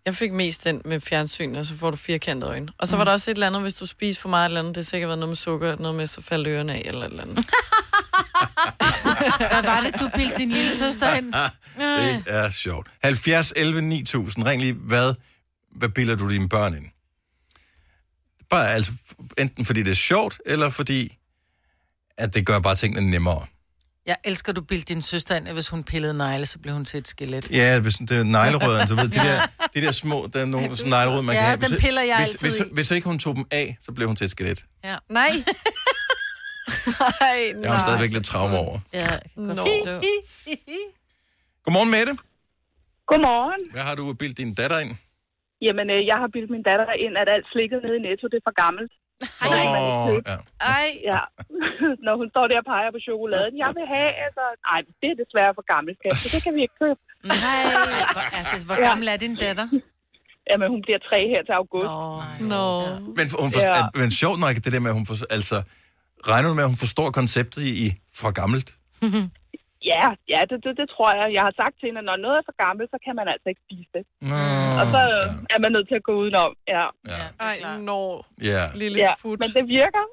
[SPEAKER 5] Jeg fik mest den med fjernsyn, og så får du firkantede øjne. Og så var der også et eller andet, hvis du spiser for meget et eller andet, det har sikkert været noget med sukker, noget med, så faldt ørerne af eller et eller andet.
[SPEAKER 2] Hvad var det, du bildte din lille søster ind?
[SPEAKER 1] det er sjovt. 70, 11, 9000. Ring lige, hvad, hvad bilder du dine børn ind? Bare altså, enten fordi det er sjovt, eller fordi, at det gør bare tingene nemmere.
[SPEAKER 2] Jeg elsker, at du bildte din søster ind, at hvis hun pillede negle, så blev hun til et skelet.
[SPEAKER 1] Ja, hvis det er neglerødderne, du ved,
[SPEAKER 2] *laughs*
[SPEAKER 1] de der, de der små, der er nogle sådan neglerød, man
[SPEAKER 2] Ja,
[SPEAKER 1] kan have.
[SPEAKER 2] dem
[SPEAKER 1] Hvis-
[SPEAKER 2] piller jeg
[SPEAKER 1] hvis,
[SPEAKER 2] altid
[SPEAKER 1] hvis,
[SPEAKER 2] i.
[SPEAKER 1] hvis, hvis ikke hun tog dem af, så blev hun til et skelet.
[SPEAKER 2] Ja.
[SPEAKER 5] Nej. nej,
[SPEAKER 1] Det har hun stadigvæk lidt traume over.
[SPEAKER 3] *laughs* Ja,
[SPEAKER 5] Nå.
[SPEAKER 1] Godmorgen, Mette.
[SPEAKER 18] Godmorgen.
[SPEAKER 1] Hvad har du bildt din datter ind?
[SPEAKER 18] Jamen, øh, jeg har bildt min datter ind, at alt slikket nede i Netto, det er for gammelt.
[SPEAKER 1] Åh, ja.
[SPEAKER 2] *laughs*
[SPEAKER 5] Ej.
[SPEAKER 18] Ja. Når hun står der og peger på chokoladen. Jeg vil have, altså... Ej, det er desværre for gammelt, skat, så det kan vi ikke købe.
[SPEAKER 2] Nej. Hvor, altså, hvor gammel er din datter?
[SPEAKER 18] Jamen, hun bliver tre her til august.
[SPEAKER 5] Nå.
[SPEAKER 1] Men, hun for,
[SPEAKER 18] Ja.
[SPEAKER 1] ja. men sjovt nok, det der med, at hun for, altså, regner du med, at hun forstår konceptet i, i fra gammelt?
[SPEAKER 18] Ja, ja det, det, det tror jeg. Jeg har sagt til hende, at når noget er for gammelt, så kan man altså ikke spise det.
[SPEAKER 1] Nå.
[SPEAKER 18] Og så øh, er man nødt til at gå udenom. Ja.
[SPEAKER 1] Ja.
[SPEAKER 5] Ej, når.
[SPEAKER 1] Ja.
[SPEAKER 5] Lille
[SPEAKER 18] ja.
[SPEAKER 5] fut.
[SPEAKER 18] Men det virker.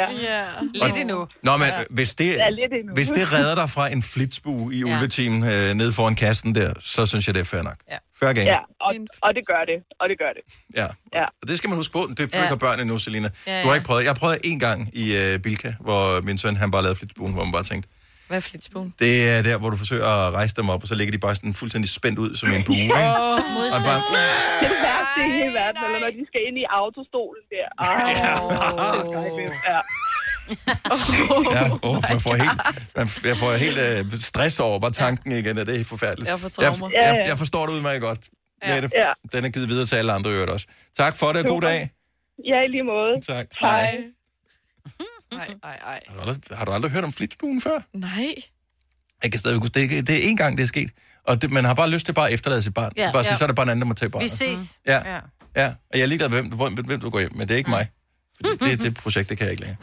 [SPEAKER 18] ja.
[SPEAKER 5] ja.
[SPEAKER 1] Lidt Og-
[SPEAKER 2] endnu.
[SPEAKER 1] *laughs* Nå, men ja. hvis, det,
[SPEAKER 18] Ja, lidt endnu.
[SPEAKER 1] hvis det redder dig fra en flitsbue i
[SPEAKER 18] Ja.
[SPEAKER 1] ulvetimen øh, nede foran kassen der, så synes jeg, det er fair nok.
[SPEAKER 18] Ja.
[SPEAKER 1] Fair game.
[SPEAKER 18] Ja, og, og det gør det. Og det gør det.
[SPEAKER 1] Ja.
[SPEAKER 18] Ja.
[SPEAKER 1] Og det skal man huske på. Det er fordi,
[SPEAKER 18] Ja.
[SPEAKER 1] ja. har børn endnu, Selina.
[SPEAKER 18] Ja,
[SPEAKER 1] Ja,
[SPEAKER 18] ja.
[SPEAKER 1] Du har ikke prøvet. Jeg har prøvet en gang i øh, Bilka, hvor min søn han bare lavede flitsbuen, hvor man bare tænkte,
[SPEAKER 5] Hvad er flitsbuen?
[SPEAKER 1] det er der, hvor du forsøger at rejse dem op, og så ligger de bare sådan fuldstændig spændt ud som en bue. Ikke?
[SPEAKER 5] Åh,
[SPEAKER 1] og bare,
[SPEAKER 18] Det er det værste i hele verden, eller når de skal ind i autostolen der. Ej, ja.
[SPEAKER 1] Ja, oh, man får helt, man, jeg får helt øh, stress over bare tanken igen, og det er helt forfærdeligt.
[SPEAKER 5] Jeg får
[SPEAKER 1] jeg,
[SPEAKER 5] traumer.
[SPEAKER 1] jeg,
[SPEAKER 5] Ja, ja.
[SPEAKER 1] jeg forstår det udmærket godt,
[SPEAKER 5] Ja.
[SPEAKER 1] ja. Mette.
[SPEAKER 5] Ja.
[SPEAKER 1] Den er givet videre til alle andre i øvrigt også. Tak for det, og god
[SPEAKER 18] Super.
[SPEAKER 1] dag.
[SPEAKER 18] ja, i lige måde.
[SPEAKER 1] Tak.
[SPEAKER 18] Hej.
[SPEAKER 5] Ej, ej, ej.
[SPEAKER 1] Har du aldrig, har du aldrig hørt om flitsbuen før?
[SPEAKER 5] Nej.
[SPEAKER 1] Jeg kan stadig, det, er- det er én gang, det er sket. Og det, man har bare lyst til bare at efterlade sit barn.
[SPEAKER 5] Ja.
[SPEAKER 1] Ja. Bare sige,
[SPEAKER 5] Ja.
[SPEAKER 1] så er der bare en anden, der må tage barnet.
[SPEAKER 5] Vi ses.
[SPEAKER 1] Ja. ja. ja. Og jeg er ligeglad med, hvem, hvem, hvem du går hjem med. Det er ikke mig. Fordi det, det projekt, det kan jeg ikke længere.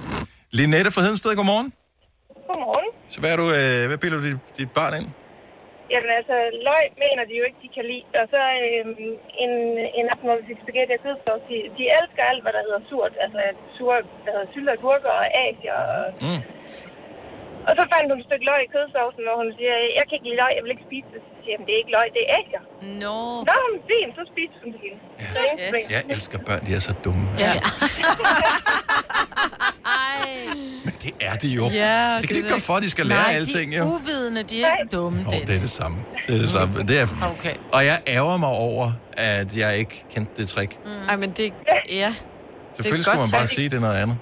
[SPEAKER 1] Linette fra Hedensted, godmorgen.
[SPEAKER 19] Godmorgen.
[SPEAKER 1] Så hvad, er du, øh, hvad bilder du dit, dit barn ind?
[SPEAKER 19] Jamen altså, løg mener de jo ikke, de kan lide. Og så øhm, en, en aften, hvor vi fik spaghetti og kødsovs, de, de elsker alt, hvad der hedder surt. Altså sure, der hedder sylte og gurker og asier. Og,
[SPEAKER 1] Mm.
[SPEAKER 19] og så fandt hun et stykke løg i kødsovsen, og hun siger, jeg kan ikke lide løg, jeg vil ikke spise det. Så siger jeg, "Men det er ikke løg, det er asier.
[SPEAKER 3] Nå.
[SPEAKER 19] Nå, men fint, så spiste hun det hele. Så ingen problem.
[SPEAKER 1] Jeg elsker børn, de er så dumme.
[SPEAKER 19] Ja.
[SPEAKER 1] Men det er de jo.
[SPEAKER 2] Ja,
[SPEAKER 1] det kan de ikke gøre for, at de skal lære
[SPEAKER 2] Nej,
[SPEAKER 1] alting,
[SPEAKER 2] de er
[SPEAKER 1] jo.
[SPEAKER 2] uvidende, de er ikke dumme.
[SPEAKER 1] Åh, det er det samme. Det er det samme. Det er...
[SPEAKER 2] Okay.
[SPEAKER 1] Og jeg ærger mig over, at jeg ikke kendte det trick.
[SPEAKER 5] Mm. Ej, men det... Ja.
[SPEAKER 1] Selvfølgelig skulle man bare
[SPEAKER 5] sagt.
[SPEAKER 1] sige, at det er noget andet.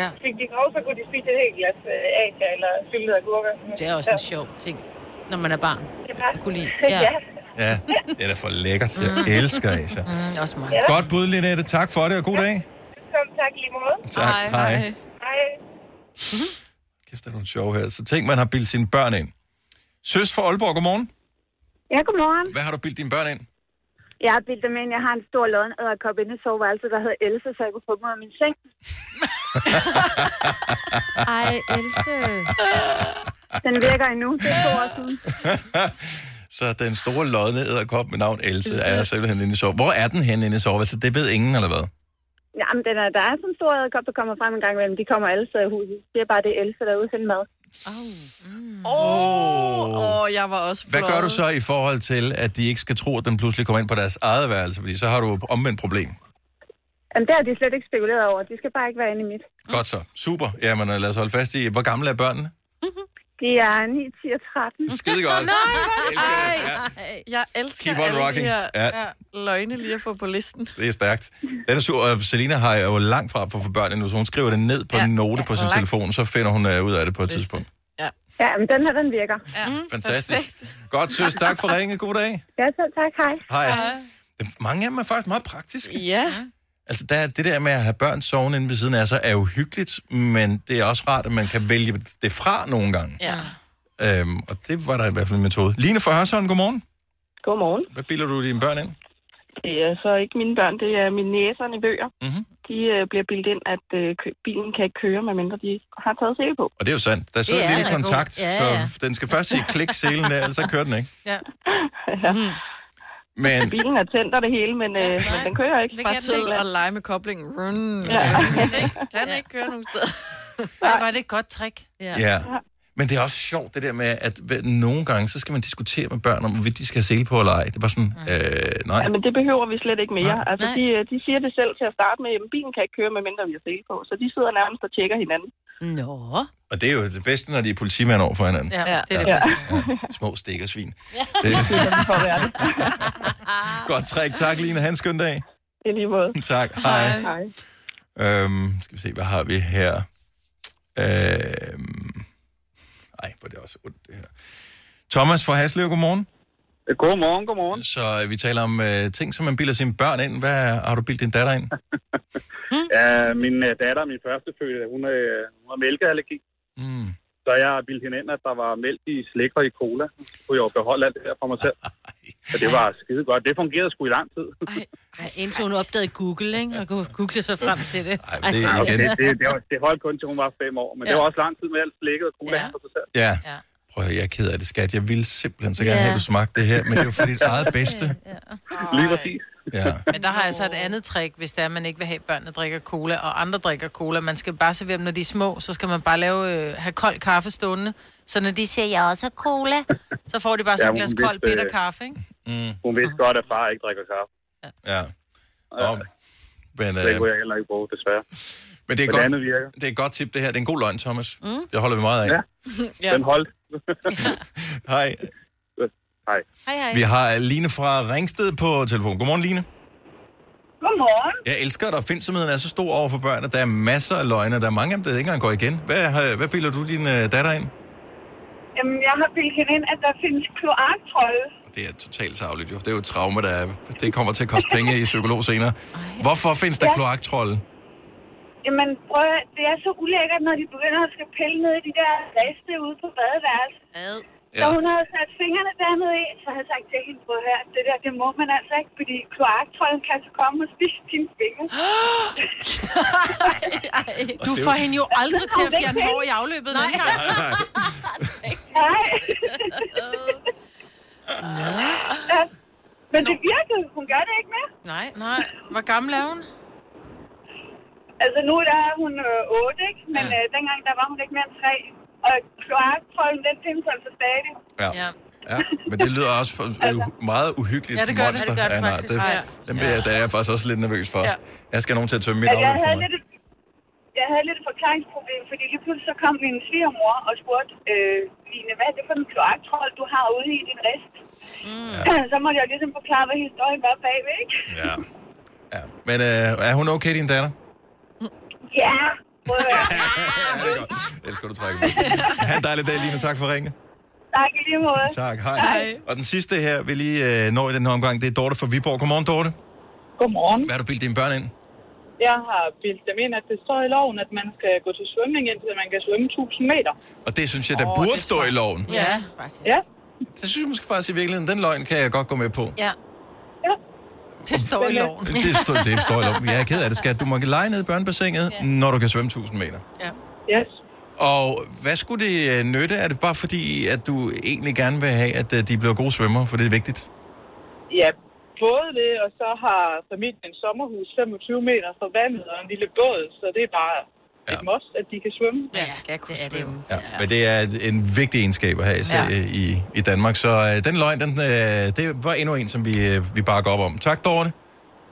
[SPEAKER 2] Ja.
[SPEAKER 19] Fik de grov, så kunne de spise et helt glas øh, asier eller syltede agurker.
[SPEAKER 3] Det er også en sjov ting, når man er barn. Jeg kunne lide. Ja.
[SPEAKER 19] Ja.
[SPEAKER 1] Ja, det er da for lækkert. Jeg elsker Asia.
[SPEAKER 2] Mm, også mig.
[SPEAKER 1] Godt bud, Linette. Tak for det, og god dag.
[SPEAKER 19] Kom, tak i lige måde.
[SPEAKER 1] Tak. Hej. Hej.
[SPEAKER 19] Hej.
[SPEAKER 1] Kæft, der er nogle sjove her. Så tænk, man har bildt sine børn ind. Søs fra Aalborg, godmorgen.
[SPEAKER 20] Ja, godmorgen.
[SPEAKER 1] Hvad har du bildt dine børn ind?
[SPEAKER 20] Jeg har bildt dem ind. Jeg har en stor lodden æderkop inde i soveværelset, der hedder Else, så jeg kunne få dem ud af min
[SPEAKER 3] *laughs*
[SPEAKER 20] seng.
[SPEAKER 13] Ej, Else.
[SPEAKER 20] Den virker endnu. Det er to år siden.
[SPEAKER 1] Så den store lodne æderkop med navn Else er simpelthen inde i sove. Hvor er den henne inde i soveværelset? Det ved ingen, eller hvad?
[SPEAKER 20] Jamen, den er, der er sådan en stor æderkop, der kommer frem en gang imellem. De kommer alle steder i huset. Det er bare det er Else, der er ude og finde mad.
[SPEAKER 1] Åh,
[SPEAKER 5] oh. oh, jeg var også
[SPEAKER 1] Hvad gør
[SPEAKER 5] flået.
[SPEAKER 1] du så i forhold til, at de ikke skal tro, at den pludselig kommer ind på deres eget værelse? Fordi så har du omvendt problem.
[SPEAKER 21] Jamen, det har de slet ikke spekuleret over. De skal bare ikke være inde i mit.
[SPEAKER 1] Godt så. Super. Jamen, øh, lad os holde fast i, hvor gamle er børnene?
[SPEAKER 21] De er 9, 10 og 13.
[SPEAKER 1] *laughs* Skide godt.
[SPEAKER 5] Nej,
[SPEAKER 1] Elsker det.
[SPEAKER 5] Ej, jeg elsker
[SPEAKER 1] Keep on
[SPEAKER 5] alle
[SPEAKER 1] rocking.
[SPEAKER 5] de her
[SPEAKER 1] Ja.
[SPEAKER 5] ja. løgne lige at få på listen.
[SPEAKER 1] Det er stærkt. Den er sur, og Selina har jo langt fra for, for børn endnu, så hun skriver det ned på ja, en note ja, på sin
[SPEAKER 21] langt.
[SPEAKER 1] telefon, så finder hun øh, ud af det på et tidspunkt.
[SPEAKER 5] Ja.
[SPEAKER 21] Ja, men den her, den virker.
[SPEAKER 5] Ja.
[SPEAKER 1] Fantastisk. Godt, søs. Tak for ringet. God dag.
[SPEAKER 21] Ja, så tak. Hej.
[SPEAKER 1] Hej. Det- Mange af dem er faktisk meget praktiske.
[SPEAKER 5] Ja.
[SPEAKER 1] Altså, der, er- det der med at have børn sovende inde ved siden af sig, er jo hyggeligt, men det er også rart, at man kan vælge det fra nogle gange.
[SPEAKER 5] Ja.
[SPEAKER 1] Øhm, og det var der i hvert fald en metode. Line fra Hørsholm, godmorgen.
[SPEAKER 18] Godmorgen.
[SPEAKER 1] Hvad bilder du dine børn ind?
[SPEAKER 18] Det er så ikke mine børn, det er mine næser og bøger.
[SPEAKER 1] Mm-hmm.
[SPEAKER 18] De øh, bliver bildt ind, at øh, kø- bilen kan ikke køre, medmindre de har taget sæbe på.
[SPEAKER 1] Og det er jo sandt. Der
[SPEAKER 18] Det
[SPEAKER 1] sidder
[SPEAKER 18] er
[SPEAKER 1] en lille
[SPEAKER 18] da god.
[SPEAKER 1] kontakt,
[SPEAKER 18] Ja,
[SPEAKER 1] så
[SPEAKER 18] ja.
[SPEAKER 1] f- den skal først sige klik selen der, ellers så kører den ikke.
[SPEAKER 2] Ja.
[SPEAKER 18] ja.
[SPEAKER 1] Men
[SPEAKER 18] Bilen er tændt og Mm. det hele, men, øh, men den kører ikke.
[SPEAKER 5] Bare sidde og lege med koblingen. Run. *laughs*
[SPEAKER 18] Ja.
[SPEAKER 5] Kan ikke køre nogen steder.
[SPEAKER 2] Nej, var det et godt trick?
[SPEAKER 1] Ja. Men det er også sjovt, det der med, at hver- nogle gange, så skal man diskutere med børn om, hvorvidt de skal have sele på eller ej. Det er bare sådan,
[SPEAKER 18] Mm.
[SPEAKER 1] øh, nej.
[SPEAKER 18] Ja, men det behøver vi slet ikke mere. Altså,
[SPEAKER 1] Nej.
[SPEAKER 18] de, øh, de siger det selv til at starte med, at bilen kan ikke køre, medmindre vi har sæbe på. Så de sidder nærmest og tjekker hinanden.
[SPEAKER 5] Nå.
[SPEAKER 1] Og det er jo det bedste, når de er politimænd over for hinanden.
[SPEAKER 18] Ja, det er det
[SPEAKER 1] Ja. *laughs* Små stikkersvin. Det er *laughs* Godt træk. Tak, Line. Ha' en skøn dag.
[SPEAKER 18] I lige måde.
[SPEAKER 1] *laughs* Tak. Hej.
[SPEAKER 18] Hej.
[SPEAKER 1] Øhm, skal vi se, hvad har vi her? Øhm, ej, hvor er det også ondt, det her. Thomas fra Haslev, godmorgen.
[SPEAKER 22] Godmorgen, godmorgen.
[SPEAKER 1] Så øh, vi taler om øh, ting, som man bilder sine børn ind. Hvad har du bildt din datter ind?
[SPEAKER 22] Ja, min øh, datter, min førstefødte, hun, øh, hun har mælkeallergi.
[SPEAKER 1] Mm.
[SPEAKER 22] Så jeg bildte hende ind, at der var mælk i slik og i cola. Så kunne jeg jo beholde alt det her for mig *laughs* selv. Så det var skide godt. Det fungerede sgu i lang tid.
[SPEAKER 3] Ej, indtil hun opdagede Google, ikke? Og kunne google sig frem til det. Ej,
[SPEAKER 1] det-
[SPEAKER 22] det,
[SPEAKER 1] igen.
[SPEAKER 22] det, det, var- det holdt kun til hun var fem år. Men ja. det
[SPEAKER 3] Ja.
[SPEAKER 22] var også lang tid med alt slikket og cola ja. for sig selv.
[SPEAKER 1] Ja. ja. Prøv at høre, jeg er ked af det, skat. Jeg ville simpelthen så gerne
[SPEAKER 2] Ja.
[SPEAKER 1] have, at du smagte det her, men det er jo for dit eget bedste.
[SPEAKER 22] Lige præcis.
[SPEAKER 1] Ja.
[SPEAKER 2] Men der har jeg altså et andet trick, hvis det er, man ikke vil have, at børnene drikker cola, og andre drikker cola. Man skal bare servere dem, når de er små, så skal man bare lave, øh, have kold kaffe stående. Så når de siger, jeg også har cola, så får de bare sådan
[SPEAKER 22] Ja,
[SPEAKER 2] ja, et glas
[SPEAKER 22] hun
[SPEAKER 2] kold
[SPEAKER 22] vidste,
[SPEAKER 2] bitter
[SPEAKER 22] øh,
[SPEAKER 2] kaffe, ikke?
[SPEAKER 1] Mm.
[SPEAKER 22] Hun vidste godt, at far ikke drikker kaffe.
[SPEAKER 1] Ja. Nå, men,
[SPEAKER 22] Det
[SPEAKER 1] øh,
[SPEAKER 22] kunne jeg heller ikke bruge, desværre.
[SPEAKER 1] men det er,
[SPEAKER 22] Men
[SPEAKER 1] godt,
[SPEAKER 22] andet virker.
[SPEAKER 1] det er et godt tip, det her. Det er en god løgn, Thomas.
[SPEAKER 22] Mm.
[SPEAKER 1] Det holder vi meget af. Ja.
[SPEAKER 22] Ja. Den holdt.
[SPEAKER 1] Hej.
[SPEAKER 22] Hej.
[SPEAKER 23] Hej, hej.
[SPEAKER 1] Vi har Line fra Ringsted på telefon. Godmorgen, Line.
[SPEAKER 23] Godmorgen.
[SPEAKER 1] Jeg elsker, at opfindsomheden er så stor over for børn, at der er masser af løgne. Der er mange af dem, der ikke engang går igen. Hvad, har- hvad bilder du din øh, datter ind?
[SPEAKER 23] Jamen, jeg har bildt hende ind, at der findes kloaktrolde.
[SPEAKER 1] Det er totalt savligt, jo. Det er jo et traume, der er, det kommer til at koste penge i psykolog senere. Hvorfor findes der
[SPEAKER 23] Ja.
[SPEAKER 1] kloaktrolde?
[SPEAKER 23] Jamen, prøv at, det er så ulækkert, når de begynder at skal pille ned i de der riste ude på badeværelset. Så hun havde sat fingrene dernede i, så havde jeg sagt til hende, prøv her, det der, det må man altså ikke, fordi kloaktrolden kan så komme og spise dine fingre.
[SPEAKER 2] Du får hende jo aldrig til at fjerne hår i afløbet. Nej,
[SPEAKER 1] nej.
[SPEAKER 23] Nej. ja. Men det virkede. Hun gør det ikke mere.
[SPEAKER 2] Nej, nej. Hvor gammel er hun?
[SPEAKER 23] Altså, nu der er hun øh, 8, ikke? Men øh, dengang, der var hun ikke mere end 3. Og kloaktrollen, den findes altså stadig.
[SPEAKER 1] Ja. ja. Ja, men det lyder også for, altså, meget uhyggeligt
[SPEAKER 23] Ja, det gør det.
[SPEAKER 1] monster.
[SPEAKER 23] Ja, det gør det
[SPEAKER 1] nej,
[SPEAKER 23] faktisk.
[SPEAKER 1] det,
[SPEAKER 23] Ja.
[SPEAKER 1] den bliver, der er jeg faktisk også lidt nervøs for.
[SPEAKER 23] Ja.
[SPEAKER 1] Ja. Jeg skal have nogen til at tømme mit
[SPEAKER 23] Altså, jeg
[SPEAKER 1] afløb for
[SPEAKER 23] havde
[SPEAKER 1] mig.
[SPEAKER 23] lidt et, jeg havde lidt et forklaringsproblem, fordi lige pludselig så kom min svigermor og spurgte, øh, Line, hvad er det for en kloaktrold, du har ude i din rest? Mm. *clears throat* så måtte jeg ligesom forklare, hvad historien var bagved, ikke? *laughs*
[SPEAKER 1] Ja. ja. Men øh, er hun okay, din datter?
[SPEAKER 23] Ja, prøv at
[SPEAKER 12] *laughs*
[SPEAKER 23] høre.
[SPEAKER 1] Ja, det er godt. Jeg elsker, du trækker mig. Ha' en dejlig dag, Line. Tak for ringen.
[SPEAKER 23] tak i lige måde.
[SPEAKER 1] Tak, hej.
[SPEAKER 23] Hej.
[SPEAKER 1] Og den sidste her, vi lige øh, når i den her omgang, det er Dorte fra Viborg. Godmorgen, Dorte.
[SPEAKER 12] Godmorgen.
[SPEAKER 1] Hvad har du bildt dine børn ind?
[SPEAKER 12] Jeg har bildt dem ind, at det står i loven, at man skal gå til svømning, indtil man kan svømme 1000 meter.
[SPEAKER 1] Og det synes jeg, der oh, burde stå i loven.
[SPEAKER 12] Ja,
[SPEAKER 3] faktisk.
[SPEAKER 12] Ja.
[SPEAKER 1] Det synes jeg måske faktisk i virkeligheden, den løgn kan jeg godt gå med på.
[SPEAKER 2] Ja. Det står
[SPEAKER 20] øh,
[SPEAKER 2] i loven.
[SPEAKER 1] Det står, det står i loven. Jeg er ked af det, skat. Du må lege ned i børnebassinet, ja. når du kan svømme 1000 meter.
[SPEAKER 2] Ja.
[SPEAKER 12] Yes.
[SPEAKER 1] Og hvad skulle det øh, nytte? Er det bare fordi, at du egentlig gerne vil have, at øh, de bliver gode svømmere, for det er vigtigt?
[SPEAKER 12] Ja, både det, og så har familien en sommerhus 25 meter fra vandet og en lille båd, så det er bare ja. et must, at de kan svømme. Ja, skal kunne det svømme.
[SPEAKER 1] Ja. Men det er et- en vigtig egenskab at have ja.
[SPEAKER 12] Ja.
[SPEAKER 1] i, i Danmark. Så øh, den løgn, den, øh, det var endnu en, som vi, øh, vi bakker op om. Tak, Dorte.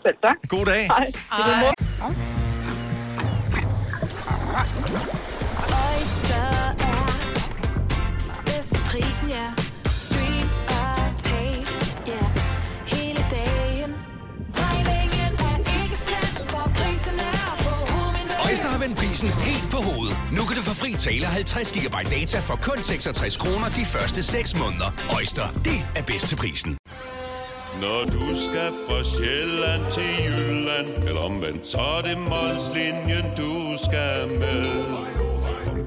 [SPEAKER 12] Selv tak.
[SPEAKER 1] God dag.
[SPEAKER 12] Hej.
[SPEAKER 1] Hej.
[SPEAKER 13] Oyster er bedst til prisen, ja. Stream og tag, ja. Hele dagen. Regningen er ikke slem, for prisen er på hovedet.
[SPEAKER 14] Øjster har vendt prisen helt på hovedet. Nu kan du få fri tale 50 GB data for kun 66 kroner de første 6 måneder. Øjster, det er bedst til prisen.
[SPEAKER 15] Når du skal fra Sjælland til Jylland Eller omvendt, så er det Molslinjen, du skal med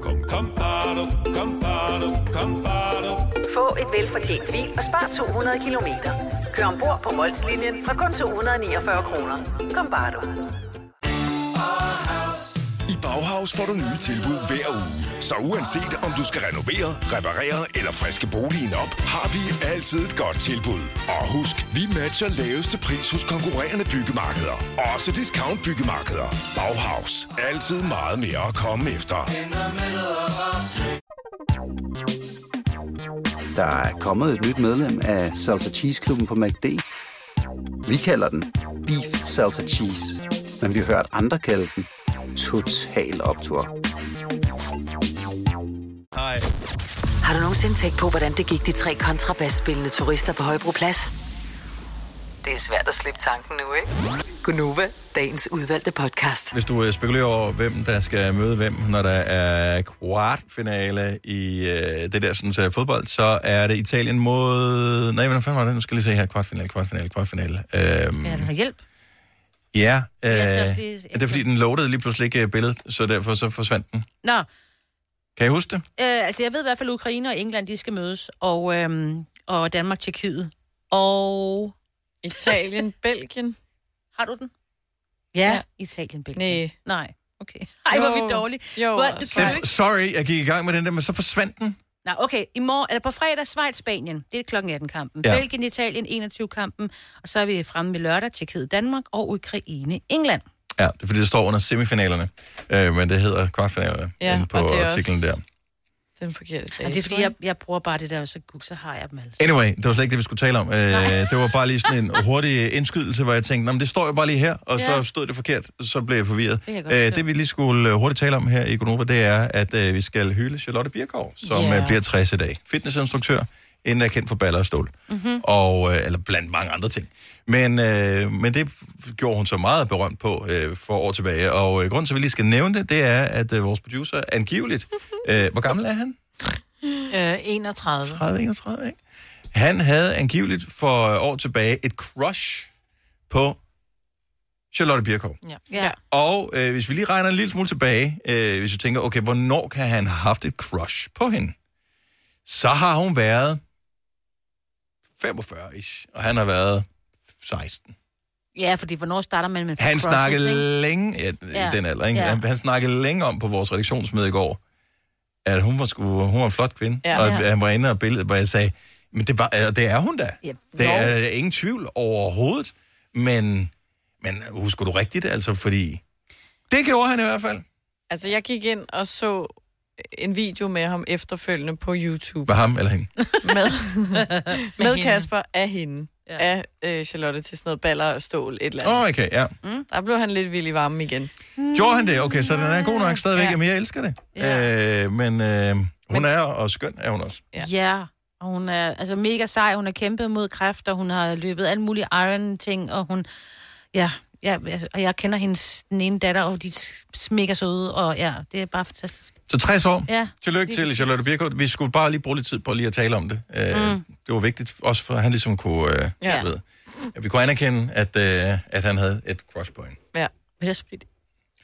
[SPEAKER 15] Kom, kom, kom, bado, kom, bado, kom, bado.
[SPEAKER 16] Få et velfortjent bil og spar 200 kilometer. Kør ombord på Molslinjen fra kun 249 kroner. Kom bare du.
[SPEAKER 10] I Bauhaus får du nye tilbud hver uge. Så uanset om du skal renovere, reparere eller friske boligen op, har vi altid et godt tilbud. Og husk, vi matcher laveste pris hos konkurrerende byggemarkeder. Også discount byggemarkeder. Bauhaus. Altid meget mere at komme efter.
[SPEAKER 17] Der er kommet et nyt medlem af Salsa Cheese Klubben på MACD. Vi kalder den Beef Salsa Cheese. Men vi har hørt andre kalde den Total Optor.
[SPEAKER 1] Hej.
[SPEAKER 7] Har du nogensinde tænkt på, hvordan det gik de tre kontrabasspillende turister på Højbroplads? Det er svært at slippe tanken nu, ikke? Gunova, dagens udvalgte podcast.
[SPEAKER 1] Hvis du øh, spekulerer over, hvem der skal møde hvem, når der er kvartfinale i øh, det der sådan, så fodbold, så er det Italien mod... Nej, hvordan fanden var det? Nu skal jeg lige se her. Kvartfinale, kvartfinale, kvartfinale. Øhm,
[SPEAKER 3] Ja, du har hjælp.
[SPEAKER 1] ja, øh,
[SPEAKER 3] Jeg skal også lige-
[SPEAKER 1] det er fordi, den loadede lige pludselig ikke øh, billedet, så derfor så forsvandt den.
[SPEAKER 3] Nå,
[SPEAKER 1] Kan I huske det?
[SPEAKER 3] øh, altså jeg ved i hvert fald, at Ukraine og England, de skal mødes, og, øhm, og Danmark, Tjekkiet, og... Italien, Belgien. Har du den? Ja, ja. Italien, Belgien. Nej. Nej, okay. *laughs* Ej, hvor er
[SPEAKER 5] Jo.
[SPEAKER 3] vi dårlige.
[SPEAKER 5] Jo,
[SPEAKER 3] Hvor-
[SPEAKER 5] og
[SPEAKER 3] du kan jo
[SPEAKER 1] Den,
[SPEAKER 3] ikke-
[SPEAKER 1] sorry, jeg gik i gang med den der, men så forsvandt den.
[SPEAKER 3] Nej, okay. I morgen, eller på fredag, Schweiz, Spanien. Det er klokken 18 kampen.
[SPEAKER 1] Ja.
[SPEAKER 3] Ja. Belgien, Italien, 21 kampen. Og så er vi fremme med lørdag, Tjekkiet, Danmark og Ukraine, England.
[SPEAKER 1] Ja, det er fordi, det står under semifinalerne, øh, men det hedder kvartfinalerne ja,
[SPEAKER 3] Ja,
[SPEAKER 1] inde på
[SPEAKER 3] og det er
[SPEAKER 1] artiklen
[SPEAKER 3] også-
[SPEAKER 1] der.
[SPEAKER 5] Den forkerte dag.
[SPEAKER 3] Jamen, det er fordi, jeg, jeg bruger bare det der, og så, gud, så har jeg dem alle.
[SPEAKER 1] Anyway, det var slet ikke det, vi skulle tale om. Øh, *laughs* det var bare lige sådan en hurtig indskydelse, hvor jeg tænkte, "Nå, men det står jo bare lige her, og så
[SPEAKER 3] Ja.
[SPEAKER 1] stod det forkert, så blev jeg forvirret.
[SPEAKER 3] Det kan jeg godt
[SPEAKER 1] øh,
[SPEAKER 3] forstå.
[SPEAKER 1] det vi lige skulle øh, hurtigt tale om her i Gonova, det er, at øh, vi skal hylde Charlotte Birkov, som
[SPEAKER 6] Ja.
[SPEAKER 1] yeah. bliver 60 i dag. Fitnessinstruktør, inden er kendt for baller og stål. Mm-hmm.
[SPEAKER 3] Mhm.
[SPEAKER 1] Og, øh, eller blandt mange andre ting. Men, øh, men det f- gjorde hun så meget berømt på øh, for år tilbage. Og øh, grunden til, at vi lige skal nævne det, det er, at øh, vores producer
[SPEAKER 3] *laughs*
[SPEAKER 1] angiveligt... Øh, hvor gammel er han?
[SPEAKER 2] Øh, 31.
[SPEAKER 1] 30, 31, ikke? Han havde angiveligt for øh, år tilbage et crush på Charlotte Birkow.
[SPEAKER 2] Ja. ja.
[SPEAKER 1] Og øh, hvis vi lige regner en lille smule tilbage, øh, hvis vi tænker, okay, hvornår kan han have haft et crush på hende? Så har hun været 45-ish, og han har været 16.
[SPEAKER 3] Ja, fordi hvornår starter man med
[SPEAKER 1] Han
[SPEAKER 3] crosses, ikke?
[SPEAKER 1] snakkede længe, ja,
[SPEAKER 3] Ja.
[SPEAKER 1] ja. den alder, ikke?
[SPEAKER 3] Ja.
[SPEAKER 1] Han, han snakkede længe om på vores redaktionsmøde i går, at hun var, sgu, hun var en flot kvinde,
[SPEAKER 3] Ja.
[SPEAKER 1] ja. og
[SPEAKER 3] Ja.
[SPEAKER 1] han var inde og billedet, hvor jeg sagde, men det, var, og det er hun da.
[SPEAKER 3] Ja,
[SPEAKER 1] Det
[SPEAKER 3] jo.
[SPEAKER 1] er ingen tvivl overhovedet, men, men husker du rigtigt, altså, fordi... Det gjorde han i hvert fald.
[SPEAKER 5] Altså, jeg gik ind og så en video med ham efterfølgende på YouTube.
[SPEAKER 1] Var ham eller hende?
[SPEAKER 5] med, med
[SPEAKER 1] hende.
[SPEAKER 5] Kasper af hende. Ja. Af øh, Charlotte til sådan noget baller og stål, et eller andet.
[SPEAKER 1] Åh, oh, okay, ja.
[SPEAKER 5] Mm. Der blev han lidt vild i varmen igen.
[SPEAKER 1] Gjorde han det? Okay, så den er god nok stadigvæk. Ja. Jamen, jeg elsker det. Ja. Øh, men øh, hun er, og skøn er hun også.
[SPEAKER 3] Ja. ja. Og hun er altså mega sej, hun har kæmpet mod kræft, og hun har løbet alle mulige iron-ting, og hun... Ja, ja, altså, og jeg kender hendes den ene datter, og de er mega søde, og ja, det er bare fantastisk.
[SPEAKER 1] Så 60 år.
[SPEAKER 3] Ja.
[SPEAKER 1] Tillykke til Charlotte Birkow. Vi skulle bare lige bruge lidt tid på lige at tale om det. Øh, mm.
[SPEAKER 3] Mm.
[SPEAKER 1] Det var vigtigt, også for at han ligesom kunne... Øh,
[SPEAKER 3] Ja.
[SPEAKER 1] ja. ved, at vi kunne anerkende, at, øh, at han havde et crush på hende.
[SPEAKER 5] Ja.
[SPEAKER 3] Men det er fordi,